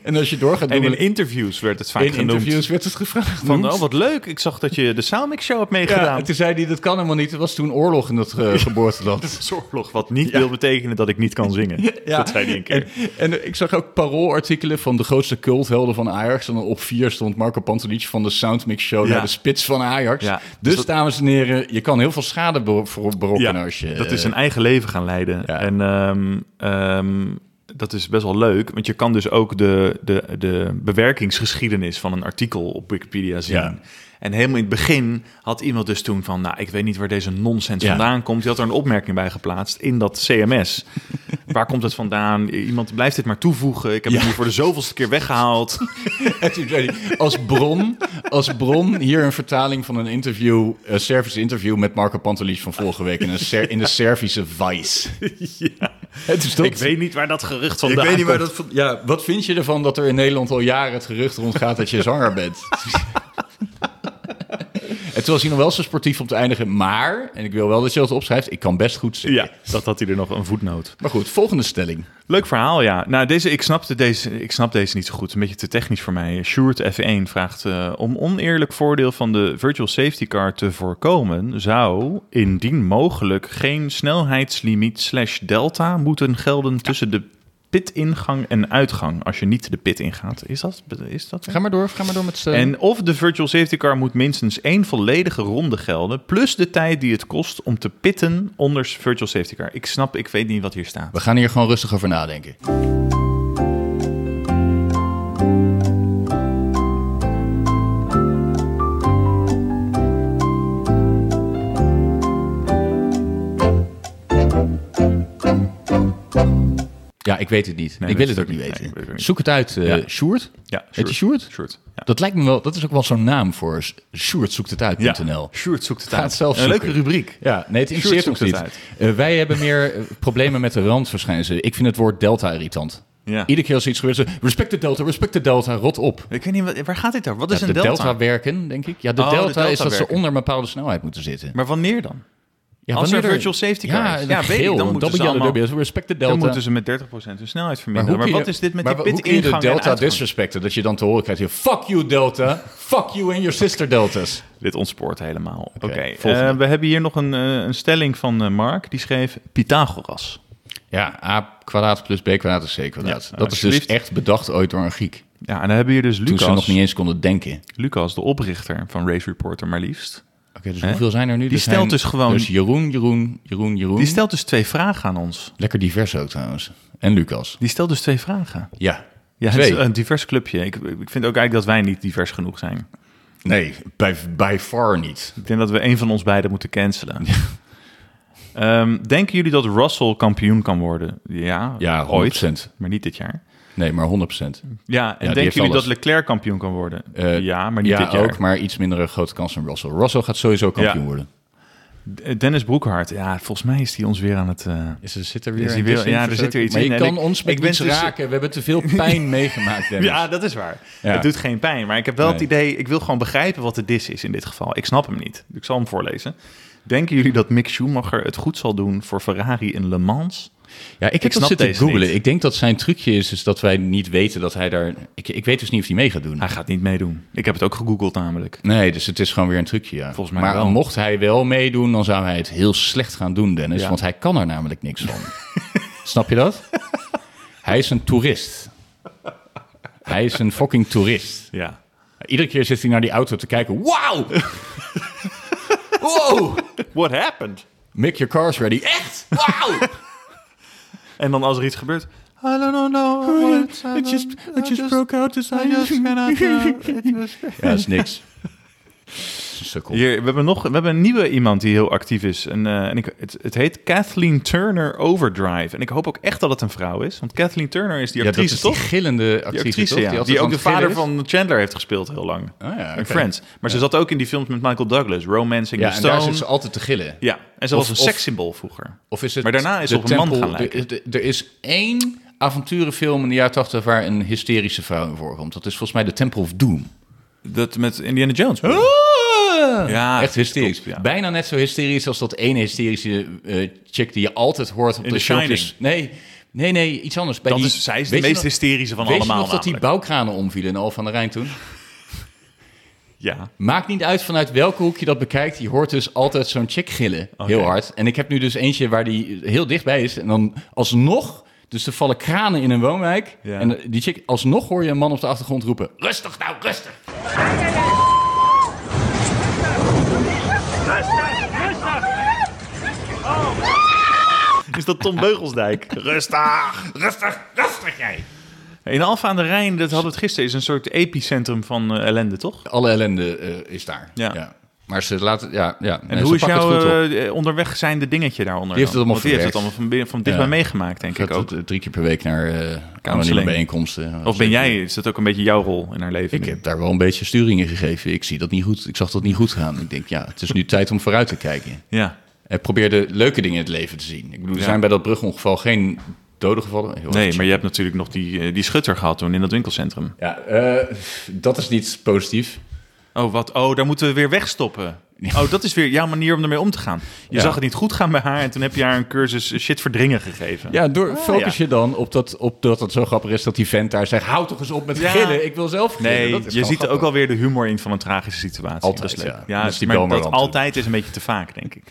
en als je doorgaat
En in
googlen-
interviews werd het vaak
in
genoemd.
interviews werd het gevraagd.
Van, oh, wat leuk. Ik zag dat je de Soundmix Show hebt meegedaan.
ja, toen zei hij, dat kan helemaal niet. Er was toen oorlog in dat eh, geboorteland.
is oorlog, wat niet wil betekenen dat ik niet kan zingen. Dat zei hij een keer.
En, en ik zag ook paroolartikelen van de grootste culthelden van Ajax. En dan op vier stond Marco Pantelic van de Soundmix Show
Ja.
naar de spits van Ajax.
Ja.
Dus,
Dus dat-
dames en heren, je kan heel veel schade bero- voor- berokkenen
Ja,
als je...
dat is
eh,
een eigen leven gaan leiden.
Ja.
En ehm, ehm, dat is best wel leuk, want je kan dus ook de, de, de bewerkingsgeschiedenis van een artikel op Wikipedia zien.
Ja.
En helemaal in het begin had iemand dus toen van, nou, ik weet niet waar deze nonsens
Ja.
vandaan komt. Die had er een opmerking bij geplaatst in dat CMS. waar komt het vandaan? Iemand blijft dit maar toevoegen. Ik heb
Ja.
het nu voor de zoveelste keer weggehaald.
En toen zei hij, als bron, als bron hier een vertaling van een interview, eh, een Servische interview met Marco Pantelic van vorige week in, een Ser- in de Servische Vice.
Ja.
Het is
Ik weet niet waar dat gerucht vandaan
Ik weet niet waar
komt.
dat... van- Ja, wat vind je ervan dat er in Nederland al jaren het gerucht rondgaat dat je zwanger bent? en toen was hij nog wel zo sportief om te eindigen. Maar, en ik wil wel dat je dat opschrijft, ik kan best goed zingen.
Ja, dat had hij er nog een voetnoot.
Maar goed, volgende stelling.
Leuk verhaal, ja. Nou, deze, ik, snapte deze, ik snap deze niet zo goed. Een beetje te technisch voor mij. Sjoerd F1 vraagt... eh, om oneerlijk voordeel van de virtual safety car te voorkomen... zou indien mogelijk geen snelheidslimiet slash delta moeten gelden... tussen de pitingang en uitgang. Als je niet de pit ingaat. Is dat... Is dat
Ga maar door, ga maar door met... eh, stelling.
en of de virtual safety car moet minstens één volledige ronde gelden... plus de tijd die het kost om te pitten onder virtual safety car. Ik snap, ik weet niet wat hier staat.
We gaan hier gewoon rustig over nadenken. Ja, ik weet het niet.
Nee,
ik
dat
wil het
is
ook niet
ook niet.
weten.
Nee, ik weet het ook niet.
Zoek het uit, eh
Ja.
Sjoerd.
Ja,
Heet je Sjoerd?
Sjoerd, ja.
Dat lijkt me wel, dat is ook wel zo'n naam voor s- Sjoerd zoekt het uit.nl.
Sjoerd zoekt het
Ga
uit.
het zelf
een leuke
zoeken.
rubriek.
Ja, nee, het
Sjoerd
interesseert ons niet.
zoekt het
Eh, wij hebben meer eh, problemen met de randverschijnselen. Ik vind het woord delta irritant.
Ja.
Iedere keer als er iets gebeurt, ze, respect de delta, respect de delta, rot op.
Ik weet niet, wat- waar gaat dit over? Wat is
Ja,
een
de
delta?
delta? werken, denk ik. Ja, de,
Oh, de
delta, is
delta
dat ze
werken.
onder een bepaalde snelheid moeten zitten.
Maar wanneer dan?
Ja,
als
wanneer
er virtual safety car
ja,
is.
een
Ja, weet ik,
geel,
dan
een
moeten ze
W aan de
allemaal-
W, respect de delta.
Dan moeten ze met 30% hun snelheid
hoe
verminderen. Maar,
kun
wat
je-
is dit met
maar
die
hoe
pit
kun je de
ingang
delta
en uitgang?
disrespecten? Dat je dan te horen krijgt, je, fuck you delta, fuck you and your sister deltas.
Dit ontspoort helemaal. Oké,
volgende.
eh, we hebben hier nog een, eh, een stelling van eh, Mark. Die schreef Pythagoras.
Ja, a kwadraat plus b kwadraat is c kwadraat.
Ja,
dat is dus
alsjeblieft.
echt bedacht ooit door een Griek.
Ja, en dan hebben we hier dus
Toen ze nog
Lucas.
niet eens konden denken.
Lucas, de oprichter van Race Reporter, maar liefst.
Oké, dus hoeveel zijn er nu?
Die
Er
stelt
zijn-
dus gewoon-
Dus Jeroen, Jeroen, Jeroen, Jeroen.
Die stelt dus twee vragen aan ons.
Lekker divers ook trouwens. En Lucas.
Die stelt dus twee vragen.
Ja.
Ja, het
Twee.
is een divers clubje. Ik, ik vind ook eigenlijk dat wij niet divers genoeg zijn.
Nee, bij, bij far niet.
Ik denk dat we een van ons beiden moeten cancelen. Ehm, denken jullie dat Russell kampioen kan worden? Ja,
Ja,
ooit.
100%.
Maar niet dit jaar.
Nee, maar 100%.
Ja, en
die
denken
heeft
jullie
alles.
dat Leclerc kampioen kan worden?
Eh,
ja, maar niet
ja,
dit jaar.
ook, maar iets minder een grote kans dan Russell. Russell gaat sowieso kampioen
Ja.
worden.
D- Dennis Broekhart, ja, volgens mij is hij ons weer aan het... eh,
Is er, zit er weer
Is hij
een
weer-
dis in
ja, er
verzopen?
zit er iets
maar
in
je
en
kan
ik-
ons met
ik ben
iets
dus-
raken. We hebben te veel pijn meegemaakt, Dennis.
Ja, dat is waar.
Ja.
Het doet geen pijn. Maar ik heb wel het
Nee.
idee, ik wil gewoon begrijpen wat de dis is in dit geval. Ik snap hem niet. Ik zal hem voorlezen. Denken jullie dat Mick Schumacher het goed zal doen voor Ferrari in Le Mans?
Ja, ik heb
Ik
dat
snap
zitten
deze
googelen.
niet.
Ik denk dat zijn trucje is, is dat wij niet weten dat hij daar... Ik, ik weet dus niet of hij mee gaat doen.
Hij gaat niet meedoen. Ik heb het ook gegoogeld namelijk.
Nee, dus het is gewoon weer een trucje, ja.
Volgens mij
maar
wel.
mocht hij wel meedoen, dan zou hij het heel slecht gaan doen, Dennis.
Ja.
Want hij kan er namelijk niks van. Snap je dat? Hij is een toerist. Hij is een fucking toerist.
Ja.
Iedere keer zit hij naar die auto te kijken. Wauw! Wow!
What happened?
Make your cars ready. Echt? Wauw!
En dan als er iets gebeurt... I don't know.
It just, it just broke out the side. Ja, is niks. Sukkel.
Hier, we hebben nog we hebben een nieuwe iemand die heel actief is. En, eh, en ik, het, het heet Kathleen Turner Overdrive. En ik hoop ook echt dat het een vrouw is. Want Kathleen Turner is die
Ja, dat
actrice,
is die
toch?
gillende actrice,
Die actrice,
toch?
ja. Die,
altijd
ook
aan
de
het gillen
vader
is.
van Chandler heeft gespeeld heel lang.
Ah, ja,
In
oké.
Friends. Maar ze zat ook in die films met Michael Douglas, Romancing
Ja,
the
en daar
Stone.
zit ze altijd te gillen.
ja, en ze
Of-
was een
of-
sekssymbool vroeger.
Of is het
Maar daarna is
de
ze op een man
tempel-
gaan lijken.
de- de- Er is één avonturenfilm in de jaren 80 waar een hysterische vrouw in voorkomt. Dat is volgens mij de Temple of Doom.
Dat met Indiana Jones. Ah! Ja,
Echt hysterisch.
klopt, ja.
Bijna net zo hysterisch als dat ene hysterische eh, chick die je altijd hoort op
In
de
The Shining.
filmpjes. Nee, nee, nee, iets anders. Bij
Dat
die-
is, zij is de
weet je
meest
nog-
hysterische van
Weet je
allemaal
nog dat die
namelijk.
bouwkranen omvielen in Al van de Rijn toen?
Ja.
Maakt niet uit vanuit welke hoek je dat bekijkt. Je hoort dus altijd zo'n chick gillen. Heel hard. En ik heb nu dus eentje waar die heel dichtbij is. En dan alsnog... Dus er vallen kranen in een woonwijk.
Ja.
En die chick... Alsnog hoor je een man op de achtergrond roepen... Rustig nou, rustig!
Is dat Tom Beugelsdijk? Rustig!
Rustig, rustig jij.
In Alfa aan de Rijn, dat hadden we het gisteren, is een soort epicentrum van eh, ellende, toch?
Alle ellende eh, is daar.
Ja.
Maar ze laten... Ja, ja.
En hoe is jouw eh, onderweg zijnde dingetje daaronder?
Die heeft
dan?
het allemaal
Want die heeft het allemaal
verwerkt.
van, binnen- van dichtbij
Ja.
meegemaakt, denk ik ook.
drie keer per week naar eh anonieme
Counseling.
bijeenkomsten.
Of ben jij, is dat ook een beetje jouw rol in haar leven?
Ik
nu?
heb daar wel een beetje sturing in gegeven. Ik zie dat niet goed. Ik zag dat niet goed gaan. Ik denk, ja, het is nu tijd om vooruit te kijken.
Ja.
eh, probeerde leuke dingen in het leven te zien. Ik bedoel, er zijn bij dat brugongeval geen doden gevallen. Heel
Nee,
even
maar je hebt natuurlijk nog die, eh, die schutter gehad toen in dat winkelcentrum.
Ja, eh, dat is niet positief.
Oh, wat? Oh, daar moeten we weer wegstoppen. Oh, dat is weer jouw manier om ermee om te gaan. Je
Ja.
zag het niet goed gaan bij haar en toen heb je haar een cursus eh, shit verdringen gegeven.
Oh. Ja, door, focus
ja.
je dan op dat, op dat het zo grappig is dat die vent daar zegt... hou toch eens op met
Ja.
gillen, ik wil zelf gillen.
Nee,
Dat is
je ziet
gewoon
er ook
grappig.
alweer de humor in van een tragische situatie.
Altijd,
Dat is leuk.
ja.
ja.
Dat is die
maar
Belmer
dat
dan
altijd is een beetje te vaak, denk ik.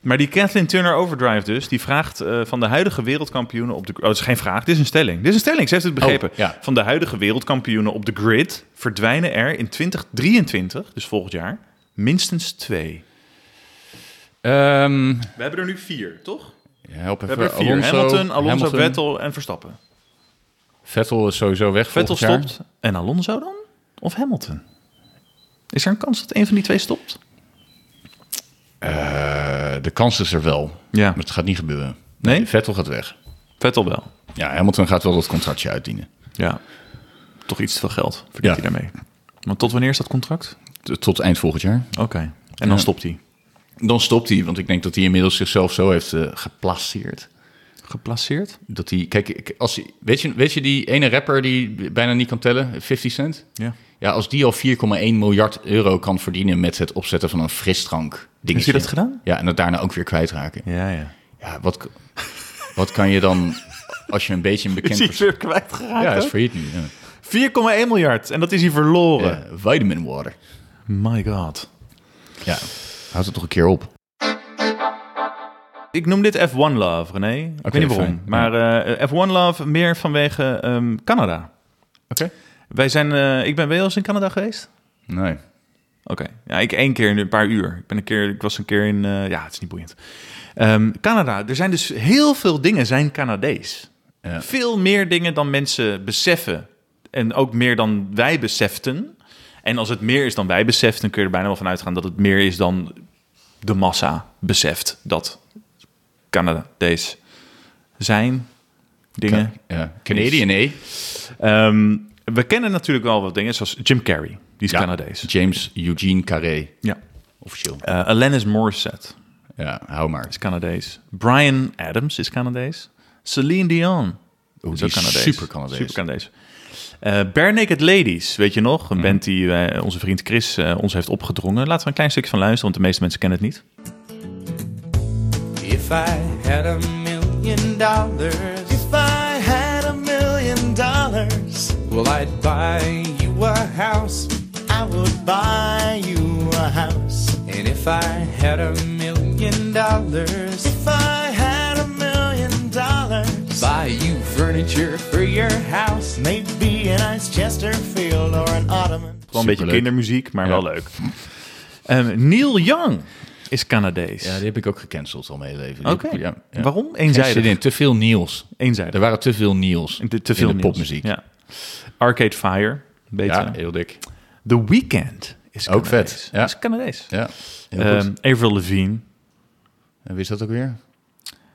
Maar die Kathleen Turner Overdrive dus, die vraagt eh, van de huidige wereldkampioenen op de... Oh, dat is geen vraag, dit is een stelling. Dit is een stelling, ze heeft het begrepen.
Oh, ja.
Van de huidige wereldkampioenen op de grid verdwijnen er in 2023, dus volgend jaar, minstens twee.
Ehm,
We hebben er nu vier, toch?
help
We
even.
hebben er vier.
Alonso,
Hamilton, Alonso,
Hamilton.
Vettel en Verstappen.
Vettel is sowieso weg
Vettel
volgend jaar.
stopt en Alonso dan? Of Hamilton? Is er een kans dat een van die twee stopt?
Eh, de kans is er wel,
Ja.
maar het gaat niet gebeuren.
Nee?
Vettel gaat weg.
Vettel wel.
Ja, Hamilton gaat wel dat contractje uitdienen.
Ja. Toch iets te veel geld verdient
Ja.
hij daarmee. Want tot wanneer is dat contract?
T- Tot eind volgend jaar.
Oké. En dan stopt hij.
Dan stopt hij, want ik denk dat hij inmiddels zichzelf zo heeft eh, geplaceerd.
Geplaceerd?
Dat hij, kijk, ik- als hij, weet, je, weet je die ene rapper die bijna niet kan tellen, 50 Cent?
Ja.
Ja, als die al 4,1 miljard euro kan verdienen met het opzetten van een frisdrank dingetje.
Heeft hij dat gedaan?
Ja, en dat daarna ook weer kwijtraken.
Ja, ja.
Ja, wat, wat kan je dan, als je een beetje een bekend
Is hij
persoon...
weer kwijtgeraakt?
Ja,
Ja,
is failliet nu. Ja.
4,1 miljard. En dat is hij verloren.
Eh, vitamin water.
My god.
Ja, houd het toch een keer op.
Ik noem dit F1 Love, René. Ik
Oké,
weet niet waarom.
fijn.
Maar eh, F1 Love meer vanwege ehm, Canada.
Oké.
Wij zijn... eh, ik ben wel eens in Canada geweest.
Nee.
Oké. Ja, ik één keer in een paar uur. Ik, ben een keer, ik was een keer in... eh, ja, het is niet boeiend. Ehm, Canada. Er zijn dus heel veel dingen zijn Canadees.
Ja.
Veel meer dingen dan mensen beseffen. En ook meer dan wij beseften. En als het meer is dan wij beseften... kun je er bijna wel van uitgaan dat het meer is dan de massa beseft. Dat Canadees zijn dingen.
Ja. Canadian, nee.
Ehm, we kennen natuurlijk wel wat dingen, zoals Jim Carrey. Die is
Ja,
Canadees.
James Eugene Carré,
Ja.
officieel.
Eh Alanis Morissette.
Ja, hou maar.
is Canadees. Brian Adams is Canadees. Celine
Oh,
Dion is
die
ook
is
Canadees.
super Canadees.
Super Canadees. Eh, Bare Naked Ladies, weet je nog?
Mhm.
Een band die eh, onze vriend Chris eh, ons heeft opgedrongen. Laten we een klein stukje van luisteren, want de meeste mensen kennen het niet.
If I had a million dollars, if I had a million dollars, well, I'd buy you a house. I would buy you a house. And if I had a million dollars, if I had a million dollars, buy you furniture for your house. Maybe an ice Chesterfield or an ottoman.
Wel een beetje
Superleuk.
kindermuziek, maar wel leuk. Ehm, Neil Young is Canadees.
Ja, die heb ik ook gecanceld al mijn hele leven. Die
Oké.
heb ik- ja, ja.
Waarom?
Geen zin
Eenzijdig.
in, te veel Niels.
Eenzijdig.
Er waren te veel Niels
Te- te veel
in de
nieuws.
popmuziek.
Ja. Arcade Fire, beter.
Ja, heel dik.
The Weeknd is
Ook vet,
Canadees.
ja.
Is Canadees.
Ja, heel goed.
Ehm, Avril Lavigne.
En wie is dat ook weer?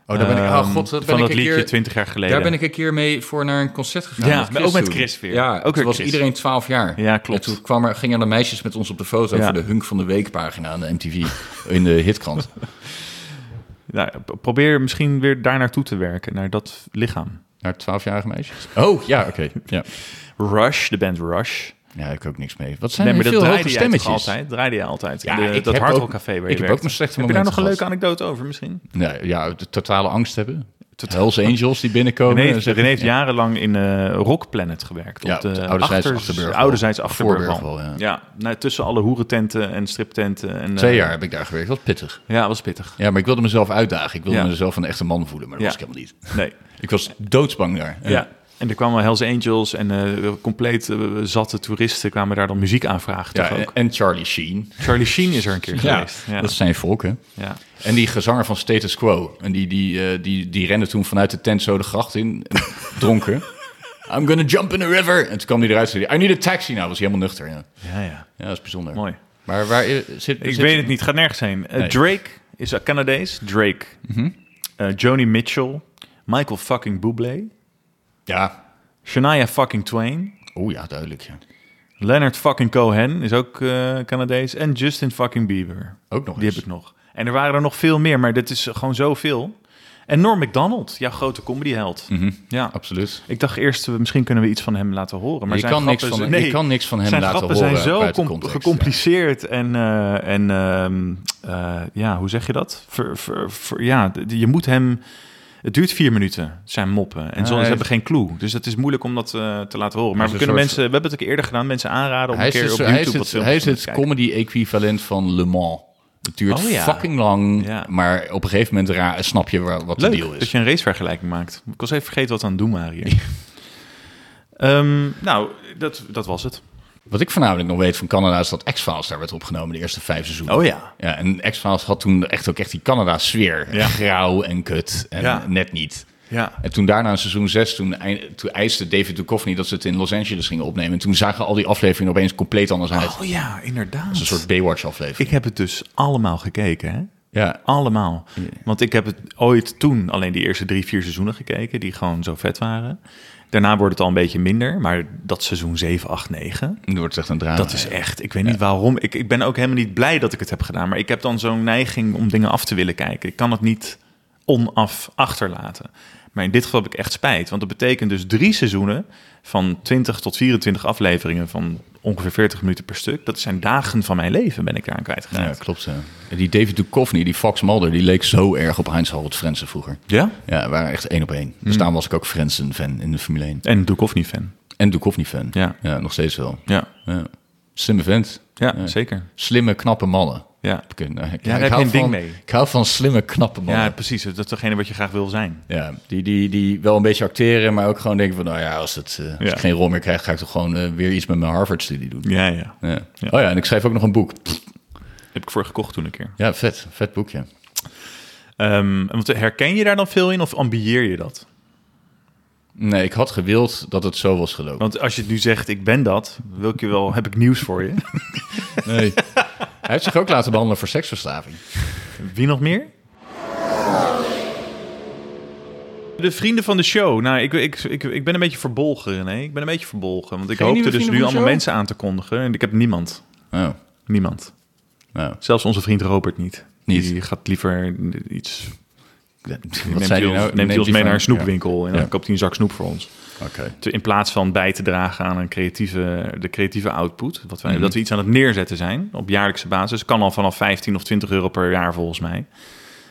Oh, daar ben ik...
Ehm,
Oh god, dat ben
van
ik
dat
een
liedje
keer-
20 jaar geleden.
Daar ben ik een keer mee voor naar een concert gegaan.
Ja,
met
maar ook met
toen.
Chris weer.
Ja,
Ook
ook
weer
toen was
Chris.
iedereen 12 jaar.
Ja, klopt.
En toen kwam er, gingen er meisjes met ons op de foto
Ja.
voor de Hunk van de Week pagina aan de MTV in de hitkrant.
Nou, p- probeer misschien weer daar naartoe te werken, naar dat lichaam.
Naar 12-jarige meisjes. Oh, ja, oké. Ja.
Rush, de band Rush.
ja, daar heb ik ook niks mee. Wat zijn
Nee, maar
er
dat
veel hoge
draaide jij toch
stemmetjes?
altijd? Draaide je altijd.
Ja,
De-
ik
dat
heb
Hardrock
ook-
Café waar je
ik heb
werkte.
ook mijn slechte
Heb je daar nog
momenten
een leuke
gehad.
anekdote over misschien?
Nee, ja, de totale angst hebben. Hells Angels die binnenkomen.
René,
en
heeft-
zeggen-
René heeft jarenlang in eh, Rock Planet gewerkt.
eh, Ja,
op de,
op de ouderzijds Achterburgwal.
Ouderzijds Achterburgwal.
Voorburgwal,
ja,
ja.
nou, tussen alle hoerententen en striptenten. En, eh,
Twee jaar heb ik daar gewerkt. Dat was pittig.
Ja, was pittig.
Ja, maar ik wilde mezelf uitdagen. Ik wilde
Ja.
mezelf een echte man voelen, maar dat
Ja.
was ik helemaal niet.
Nee.
Ik was doodsbang daar.
Ja. En er kwamen Hells Angels en eh, compleet eh, zatte toeristen kwamen daar dan muziek aanvragen.
Ja,
toch
en,
ook?
en Charlie Sheen.
Charlie Sheen is er een keer geweest. Ja.
dat zijn volken.
ja.
En die gezanger van Status Quo. En die, die, eh, die, die rende toen vanuit de tent zo de gracht in, eh, dronken. I'm gonna jump in the river. En toen kwam hij eruit en zei hij, I need a taxi. Nou, was hij helemaal nuchter. Ja,
ja, ja.
ja dat is bijzonder.
Mooi.
Maar waar eh, zit...
Ik weet het niet, gaat nergens heen. Eh,
Nee. Mhm.
Drake is eh, Canadees. Drake. Eh, Joni Mitchell. Michael fucking Bublé.
Ja.
Shania fucking Twain.
Oh ja, duidelijk. Ja.
Leonard fucking Cohen is ook eh, Canadees. En Justin fucking Bieber.
Ook nog
Die
eens.
heb ik nog. En er waren er nog veel meer, maar dit is gewoon zoveel. En Norm MacDonald, jouw grote comedyheld.
Mhm.
Ja,
Absoluut.
ik dacht eerst, eh, misschien kunnen we iets van hem laten horen. Maar
Je
zijn
kan niks
grappen
van-
zijn-
je kan niks van hem
zijn
laten
grappen
horen
zijn zo
buiten
com-
context,
gecompliceerd en, eh, en ehm, eh, ja, hoe zeg je dat? Ver, ver, ver- ja, d- je moet hem... Het duurt vier minuten, zijn moppen. En ze
hij-
hebben geen clue. Dus dat is moeilijk om dat eh, te laten horen. Maar
is
we
een
kunnen
soort-
mensen... We hebben het ook eerder gedaan. Mensen aanraden om
Hij
een
is
keer op
het,
YouTube
hij is
wat
het,
films
hij is
van
het
te kijken.
comedy-equivalent van Le Mans. Het duurt
Oh ja.
fucking lang,
Ja.
maar op een gegeven moment ra- snap je wa- wat de deal
Leuk
is.
dat je een racevergelijking maakt. Ik was even vergeten wat we aan het doen waren hier. Ehm, nou, dat, dat was het.
Wat ik voornamelijk nog weet van Canada is dat X-Files daar werd opgenomen, de eerste vijf seizoenen.
Oh ja.
Ja, en X-Files had toen echt ook echt die Canada-sfeer.
Ja.
Grauw en kut en
Ja.
net niet.
Ja.
En toen daarna in seizoen 6, toen, ei- toen eiste David Duchovny dat ze het in Los Angeles gingen opnemen. En toen zagen al die afleveringen opeens compleet anders uit.
Oh ja, inderdaad.
Een soort Baywatch-aflevering.
Ik heb het dus allemaal gekeken, hè?
Ja.
Allemaal. Want ik heb het ooit toen alleen die eerste drie, vier seizoenen gekeken, die gewoon zo vet waren. Daarna wordt het al een beetje minder, maar dat seizoen 7, 8, 9,
Nu wordt het echt een drama.
dat is echt, ik weet niet waarom. Ik, ik ben ook helemaal niet blij dat ik het heb gedaan, maar ik heb dan zo'n neiging om dingen af te willen kijken. Ik kan het niet onaf achterlaten. Maar in dit geval heb ik echt spijt, want dat betekent dus drie seizoenen van 20 tot 24 afleveringen van ongeveer 40 minuten per stuk. Dat zijn dagen van mijn leven ben ik daaraan
Ja,
kwijtgeraakt.
klopt. ja. En Die David Duchovny, die Fox Mulder, die leek zo erg op Heinz Harold Frensen vroeger.
Ja?
Ja, we waren echt één op één.
Hmm.
Dus daarom was ik ook Frensen-fan in de Formule 1.
En Duchovny-fan.
En Duchovny-fan.
Ja.
nog steeds wel.
Ja.
Ja. Slimme vent.
Ja, zeker.
Slimme, knappe mannen.
Ja.
Ik, eh, nou, ik,
daar
ik
heb
hou
je een ding
van,
mee.
Ik hou van slimme, knappe mannen.
ja, precies. Dat is degene wat je graag wil zijn.
Ja, die, die, die wel een beetje acteren, maar ook gewoon denken van... nou ja, als, het, eh, als
Ja.
ik geen rol meer krijg, ga ik toch gewoon eh, weer iets met mijn Harvard-studie doen.
Ja, ja.
Ja. Oh ja, en ik schrijf ook nog een boek.
Heb ik voor gekocht toen een keer.
Ja, vet. Vet boekje.
Ehm, want herken je daar dan veel in of ambieer je dat?
Nee, ik had gewild dat het zo was gelopen.
Want als je het nu zegt, ik ben dat, wil ik je wel, heb ik nieuws voor je.
Nee. Hij heeft zich ook laten behandelen voor seksverslaving. Oh.
Wie nog meer? De vrienden van de show. Nou, ik, ik, ik, ik ben een beetje verbolgen, René. Ik ben een beetje verbolgen. Want ik
Geen
hoopte
nieuwe
dus
vrienden
nu
van de
allemaal
show?
mensen aan te kondigen. En ik heb niemand.
Oh,
Niemand.
nou.
Zelfs onze vriend Robert niet.
Niet.
Die gaat liever iets
Wat
neemt
zei
hij
hij
ons,
nou?
neemt hij ons
die
mee
van-
naar een snoepwinkel en dan
Ja.
koopt hij een zak snoep voor ons.
Ja, Oké.
Te- In plaats van bij te dragen aan een creatieve, de creatieve output. Wat
Mhm.
wij, Dat we iets aan het neerzetten zijn op jaarlijkse basis. Kan al vanaf 15 of 20 euro per jaar volgens mij.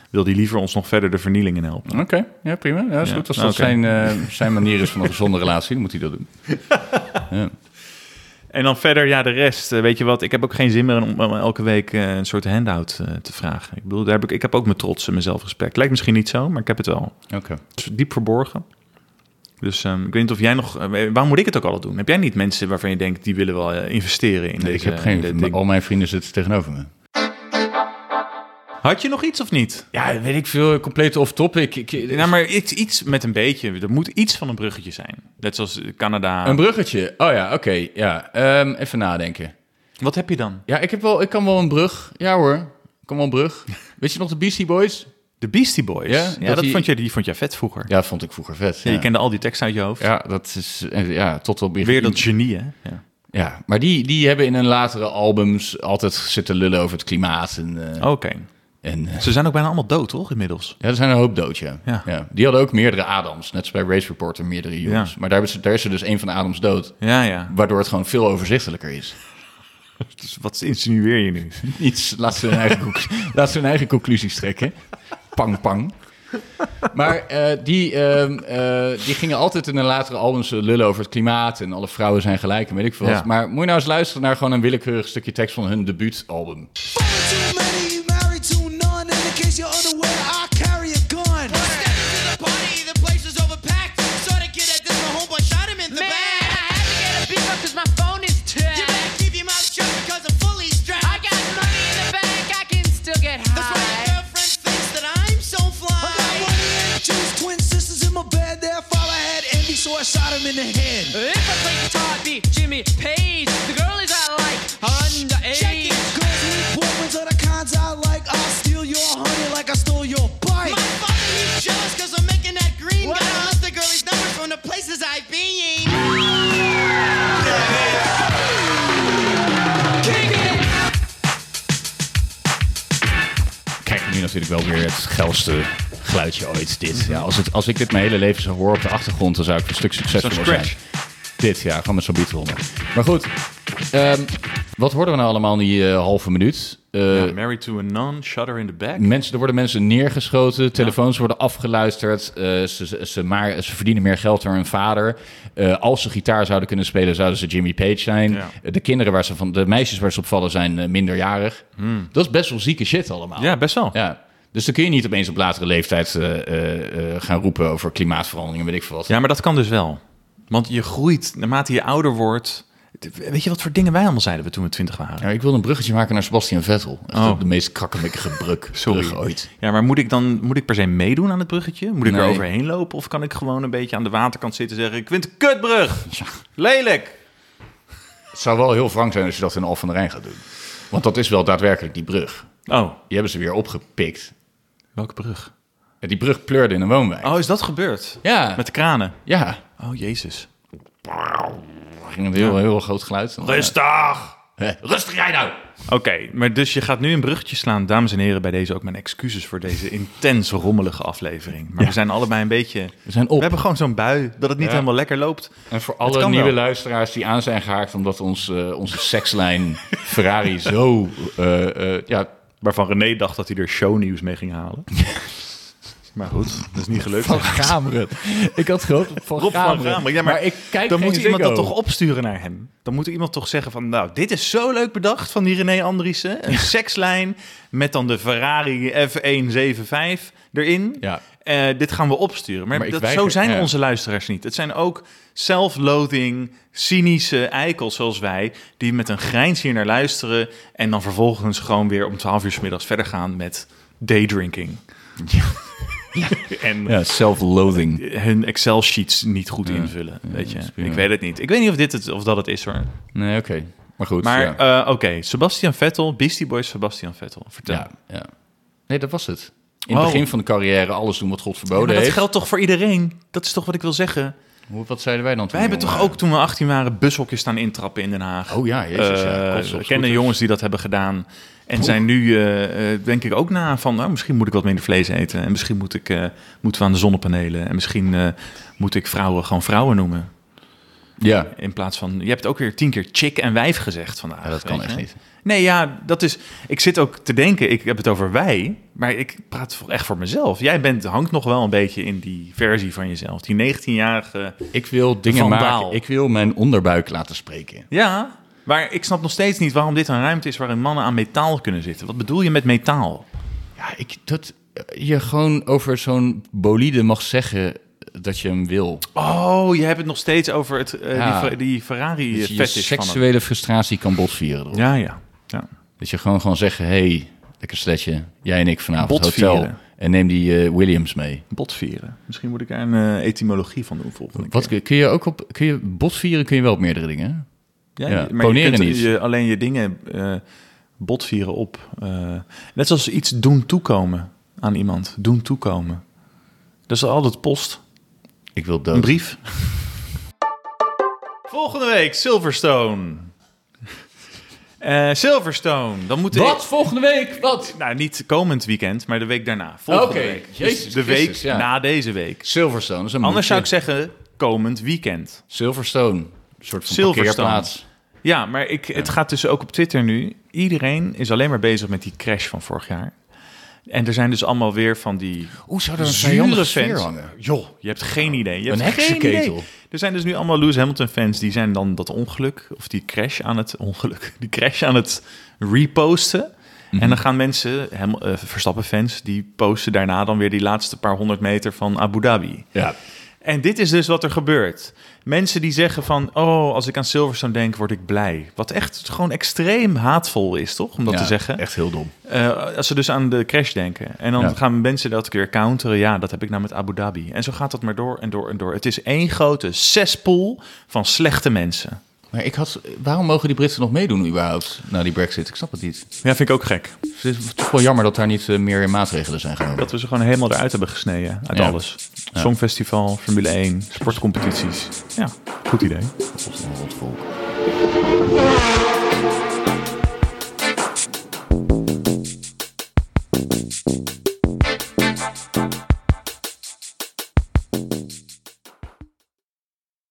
Wil die liever ons nog verder de vernielingen helpen.
Oké, ja, prima. Ja, is
Ja,
goed. Als dat
nou, oké.
zijn, eh, zijn manier is van een gezonde relatie, dan moet hij dat doen.
En dan verder, ja, de rest. eh, Weet je wat, ik heb ook geen zin meer om, om elke week eh, een soort handout eh, te vragen. Ik bedoel, daar heb ik, ik heb ook mijn trots en mijn zelfrespect. Lijkt misschien niet zo, maar ik heb het wel.
Oké.
Het is diep verborgen. Dus ehm, ik weet niet of jij nog... eh, waarom moet ik het ook altijd doen? Heb jij niet mensen waarvan je denkt... die willen wel eh, investeren in deze...
ik heb
in dit
geen...
ding?
Al mijn vrienden zitten tegenover me.
Had je nog iets of niet?
Ja, weet ik veel. Compleet off-topic. Ik- ik-
Nou, maar iets, iets met een beetje. Er moet iets van een bruggetje zijn. Net zoals Canada.
Een bruggetje. Oh ja, oké. ja. Ehm, even nadenken.
Wat heb je dan?
Ja, ik, heb wel, ik kan wel een brug. Ja hoor, ik kan wel een brug. Weet je nog de Beastie Boys?
De Beastie Boys.
Ja,
Ja,
dat
dat
die-
vond jij, die vond jij vet vroeger.
Ja, vond ik vroeger vet. Ja,
Je kende al die teksten uit je hoofd.
Ja, dat is... eh, Ja, tot op...
Weer dat genie, hè? Ja.
Ja, maar die, die hebben in hun latere albums altijd zitten lullen over het klimaat. En, eh,
Oké.
en eh,
Ze zijn ook bijna allemaal dood, toch, inmiddels?
ja, er zijn een hoop dood, ja.
Ja.
Die hadden ook meerdere Adams, net als bij Race Reporter, meerdere jongens.
Ja.
Maar daar, hebben ze- daar is er dus één van de Adams dood,
Ja, ja.
waardoor het gewoon veel overzichtelijker is.
Dus wat insinueer je nu?
Niets, laat ze hun eigen, conc- laat ze hun eigen conclusies trekken. Pang, pang. Maar eh, die, ehm, eh, die gingen altijd in hun latere albums eh, lullen over het klimaat en alle vrouwen zijn gelijk en weet ik veel wat.
Ja.
Maar moet je nou eens luisteren naar gewoon een willekeurig stukje tekst van hun debuutalbum.
Too many, you married to none. And in case you're unaware, I carry a gun.
Man, I had to get a beef up 'cause my phone is tapped. I got money in the bank, I can still get high.
I got one and two twin sisters in my bed. Their father had envy, so I shot him in the head.
If I play guitar, be Jimmy Page. The girlies I like are underage.
Girls with boyfriends of the kinds I like. I'll steal your honey like I stole your bike.
Kijk, natuurlijk wel weer het geilste geluidje ooit, dit. Ja, als, het, als ik dit mijn hele leven zou horen op de achtergrond, dan zou ik een stuk succesvoller
Zo'n
zijn.
scratch.
Dit, ja, gewoon met zo'n beat eronder. Maar goed, ehm, wat hoorden we nou allemaal in die eh, halve minuut? Eh,
Ja, married to a nun, shutter in the back.
Mensen, er worden mensen neergeschoten, telefoons worden afgeluisterd, eh, ze, ze, ze maar, ze verdienen meer geld dan hun vader. Eh, als ze gitaar zouden kunnen spelen, zouden ze Jimmy Page zijn.
Ja.
Eh, De kinderen waar ze van, de meisjes waar ze op vallen zijn eh, minderjarig. Dat is best wel zieke shit allemaal.
Hmm. Ja, best wel.
Ja. Dus dan kun je niet opeens op latere leeftijd eh, eh, eh, gaan roepen over klimaatverandering en weet ik veel wat.
Ja, maar dat kan dus wel. Want je groeit naarmate je ouder wordt. Weet je wat voor dingen wij allemaal zeiden we toen we twintig waren?
Nou, ik wilde een bruggetje maken naar Sebastian Vettel. Echt
Oh.
de meest krakkemikkige brug,
Sorry.
brug ooit.
Ja, maar moet ik dan moet ik per se meedoen aan het bruggetje? Moet ik
Nee.
er overheen lopen? Of kan ik gewoon een beetje aan de waterkant zitten en zeggen... Ik vind het een kutbrug! Lelijk!
Het zou wel heel wrang zijn als je dat in Al van de Rijn gaat doen. Want dat is wel daadwerkelijk die brug.
Oh,
Die hebben ze weer opgepikt.
welke brug?
Ja, Die brug pleurde in een woonwijk.
Oh, is dat gebeurd?
Ja,
Met de kranen?
ja.
Oh, jezus.
Dan ging het heel, heel groot geluid. eh,
Rustig!
Hè, Rustig jij nou!
Oké, maar dus je gaat nu een bruggetje slaan. Dames en heren, bij deze ook mijn excuses voor deze intens rommelige aflevering. Maar we zijn allebei een beetje...
We zijn op.
We hebben gewoon zo'n bui dat het niet
Ja.
helemaal lekker loopt.
En voor
Het
alle
kan
nieuwe
wel.
luisteraars die aan zijn gehaakt... omdat ons, eh, onze sekslijn Ferrari zo... eh, eh, ja,
Waarvan René dacht dat hij er shownieuws mee ging halen. maar goed, dat is niet gelukt.
Van Gameren. Ik had gehoopt op Van
Rob van
Gameren.
Gamer. Ja, maar,
ik kijk
dan
geen
moet iemand
Ziggo.
dat toch opsturen naar hem. Dan moet er iemand toch zeggen van... Nou, dit is zo leuk bedacht van die René Andriessen. Een sekslijn met dan de Ferrari F175 erin.
Ja.
Eh, dit gaan we opsturen. Maar,
Maar ik
dat,
weiger-
zo zijn
ja.
onze luisteraars niet. Het zijn ook self-loathing, cynische eikels zoals wij... die met een grijns hier naar luisteren... en dan vervolgens gewoon weer om 12 uur 's middags verder gaan met daydrinking. en
Ja, self-loathing.
hun Excel sheets niet goed invullen. weet je, ik weet het niet. Ik weet niet of dit het of dat het is hoor.
Nee, oké. Maar goed,
Maar
ja.
eh, oké, Sebastian Vettel, Beastie Boys, Sebastian Vettel. Vertel.
ja, ja. Nee, dat was het. In
Oh.
het begin van de carrière alles doen wat God verboden
maar dat
heeft.
geldt toch voor iedereen? Dat is toch wat ik wil zeggen.
Hoe, wat zeiden wij dan toen?
Wij hebben
jongen?
toch ook toen we 18 waren bushokjes staan intrappen in Den Haag.
Oh ja, jezus, ja.
Eh,
Kotsen op scooters.
kennen jongens die dat hebben gedaan. En zijn nu, eh, eh, denk ik, ook na van... Nou, misschien moet ik wat minder vlees eten. En misschien moet ik, eh, moeten we aan de zonnepanelen. En misschien eh, moet ik vrouwen gewoon vrouwen noemen.
eh, Ja.
In plaats van, je hebt ook weer tien keer chick en wijf gezegd vandaag.
Ja, dat
weet
kan
je.
echt niet.
Nee, ja, dat is. Ik zit ook te denken, ik heb het over wij, maar ik praat voor- echt voor mezelf. Jij bent, hangt nog wel een beetje in die versie van jezelf, die 19-jarige.
Ik wil dingen
Vandaal.
maken. Ik wil mijn onderbuik laten spreken.
Ja, maar ik snap nog steeds niet waarom dit een ruimte is waarin mannen aan metaal kunnen zitten. Wat bedoel je met metaal?
Ja, ik, dat eh, je gewoon over zo'n bolide mag zeggen dat je hem wil.
Oh, je hebt het nog steeds over het, eh,
Ja.
die, Fer- die Ferrari
Dat je je
fetish van hem.
seksuele frustratie kan botvieren. erop.
Ja, ja, ja.
Dat je gewoon, gewoon zeggen, hé, hey, lekker sletje, jij en ik vanavond
Botvieren.
hotel. En neem die eh, Williams mee.
Botvieren. Misschien moet ik daar een eh, etymologie van doen volgende
Wat kun je ook op, kun je, botvieren kun je wel op meerdere dingen. hè?
Ja,
Ja,
je- maar je
poneren
kunt
niet.
je- alleen je dingen eh botvieren op. eh, net zoals iets doen toekomen aan iemand. Doen toekomen. Dat is altijd post.
Ik wil dood.
Een brief. Volgende week Silverstone. Eh, Silverstone. Dan moet
Wat? Volgende week? Wat?
Ik, nou, niet komend weekend, maar de week daarna. Volgende
Oké,
week. Dus
Jezus
de week
Christus, ja.
na deze week.
Silverstone. dat is een
Anders zou ik
moedje.
zeggen komend weekend.
Silverstone. Een soort van
Silverstone.
parkeerplaats.
Ja, maar ik, het gaat dus ook op Twitter nu. Iedereen is alleen maar bezig met die crash van vorig jaar. En er zijn dus allemaal weer van die
Hoe zou er een
zure
vijandige sfeer
fans.
hangen?
Joh, je hebt geen idee. Je hebt
Een
geen
heksenketel.
idee. Er zijn dus nu allemaal Lewis Hamilton fans die zijn dan dat ongeluk of die crash aan het ongeluk, die crash aan het reposten.
Mhm.
En dan gaan mensen, hem, eh, Verstappen fans, die posten daarna dan weer die laatste paar honderd meter van Abu Dhabi.
Ja.
En dit is dus wat er gebeurt. Mensen die zeggen van, oh, als ik aan Silverstone denk, word ik blij. Wat echt gewoon extreem haatvol is, toch? Om dat
Ja,
te zeggen.
Echt heel dom.
Eh, als ze dus aan de crash denken. En dan
Ja.
gaan mensen dat keer counteren. Ja, dat heb ik nou met Abu Dhabi. En zo gaat dat maar door en door en door. Het is één grote zespoel van slechte mensen.
Maar ik had, waarom mogen die Britten nog meedoen überhaupt na die brexit? Ik snap het niet.
Ja, vind ik ook gek.
Het is toch wel jammer dat daar niet eh, meer maatregelen zijn genomen.
Dat we ze gewoon helemaal eruit hebben gesneden. Uit
Ja.
alles. Songfestival, Formule 1, sportcompetities. Ja, goed idee.
Dat is een rotvolk.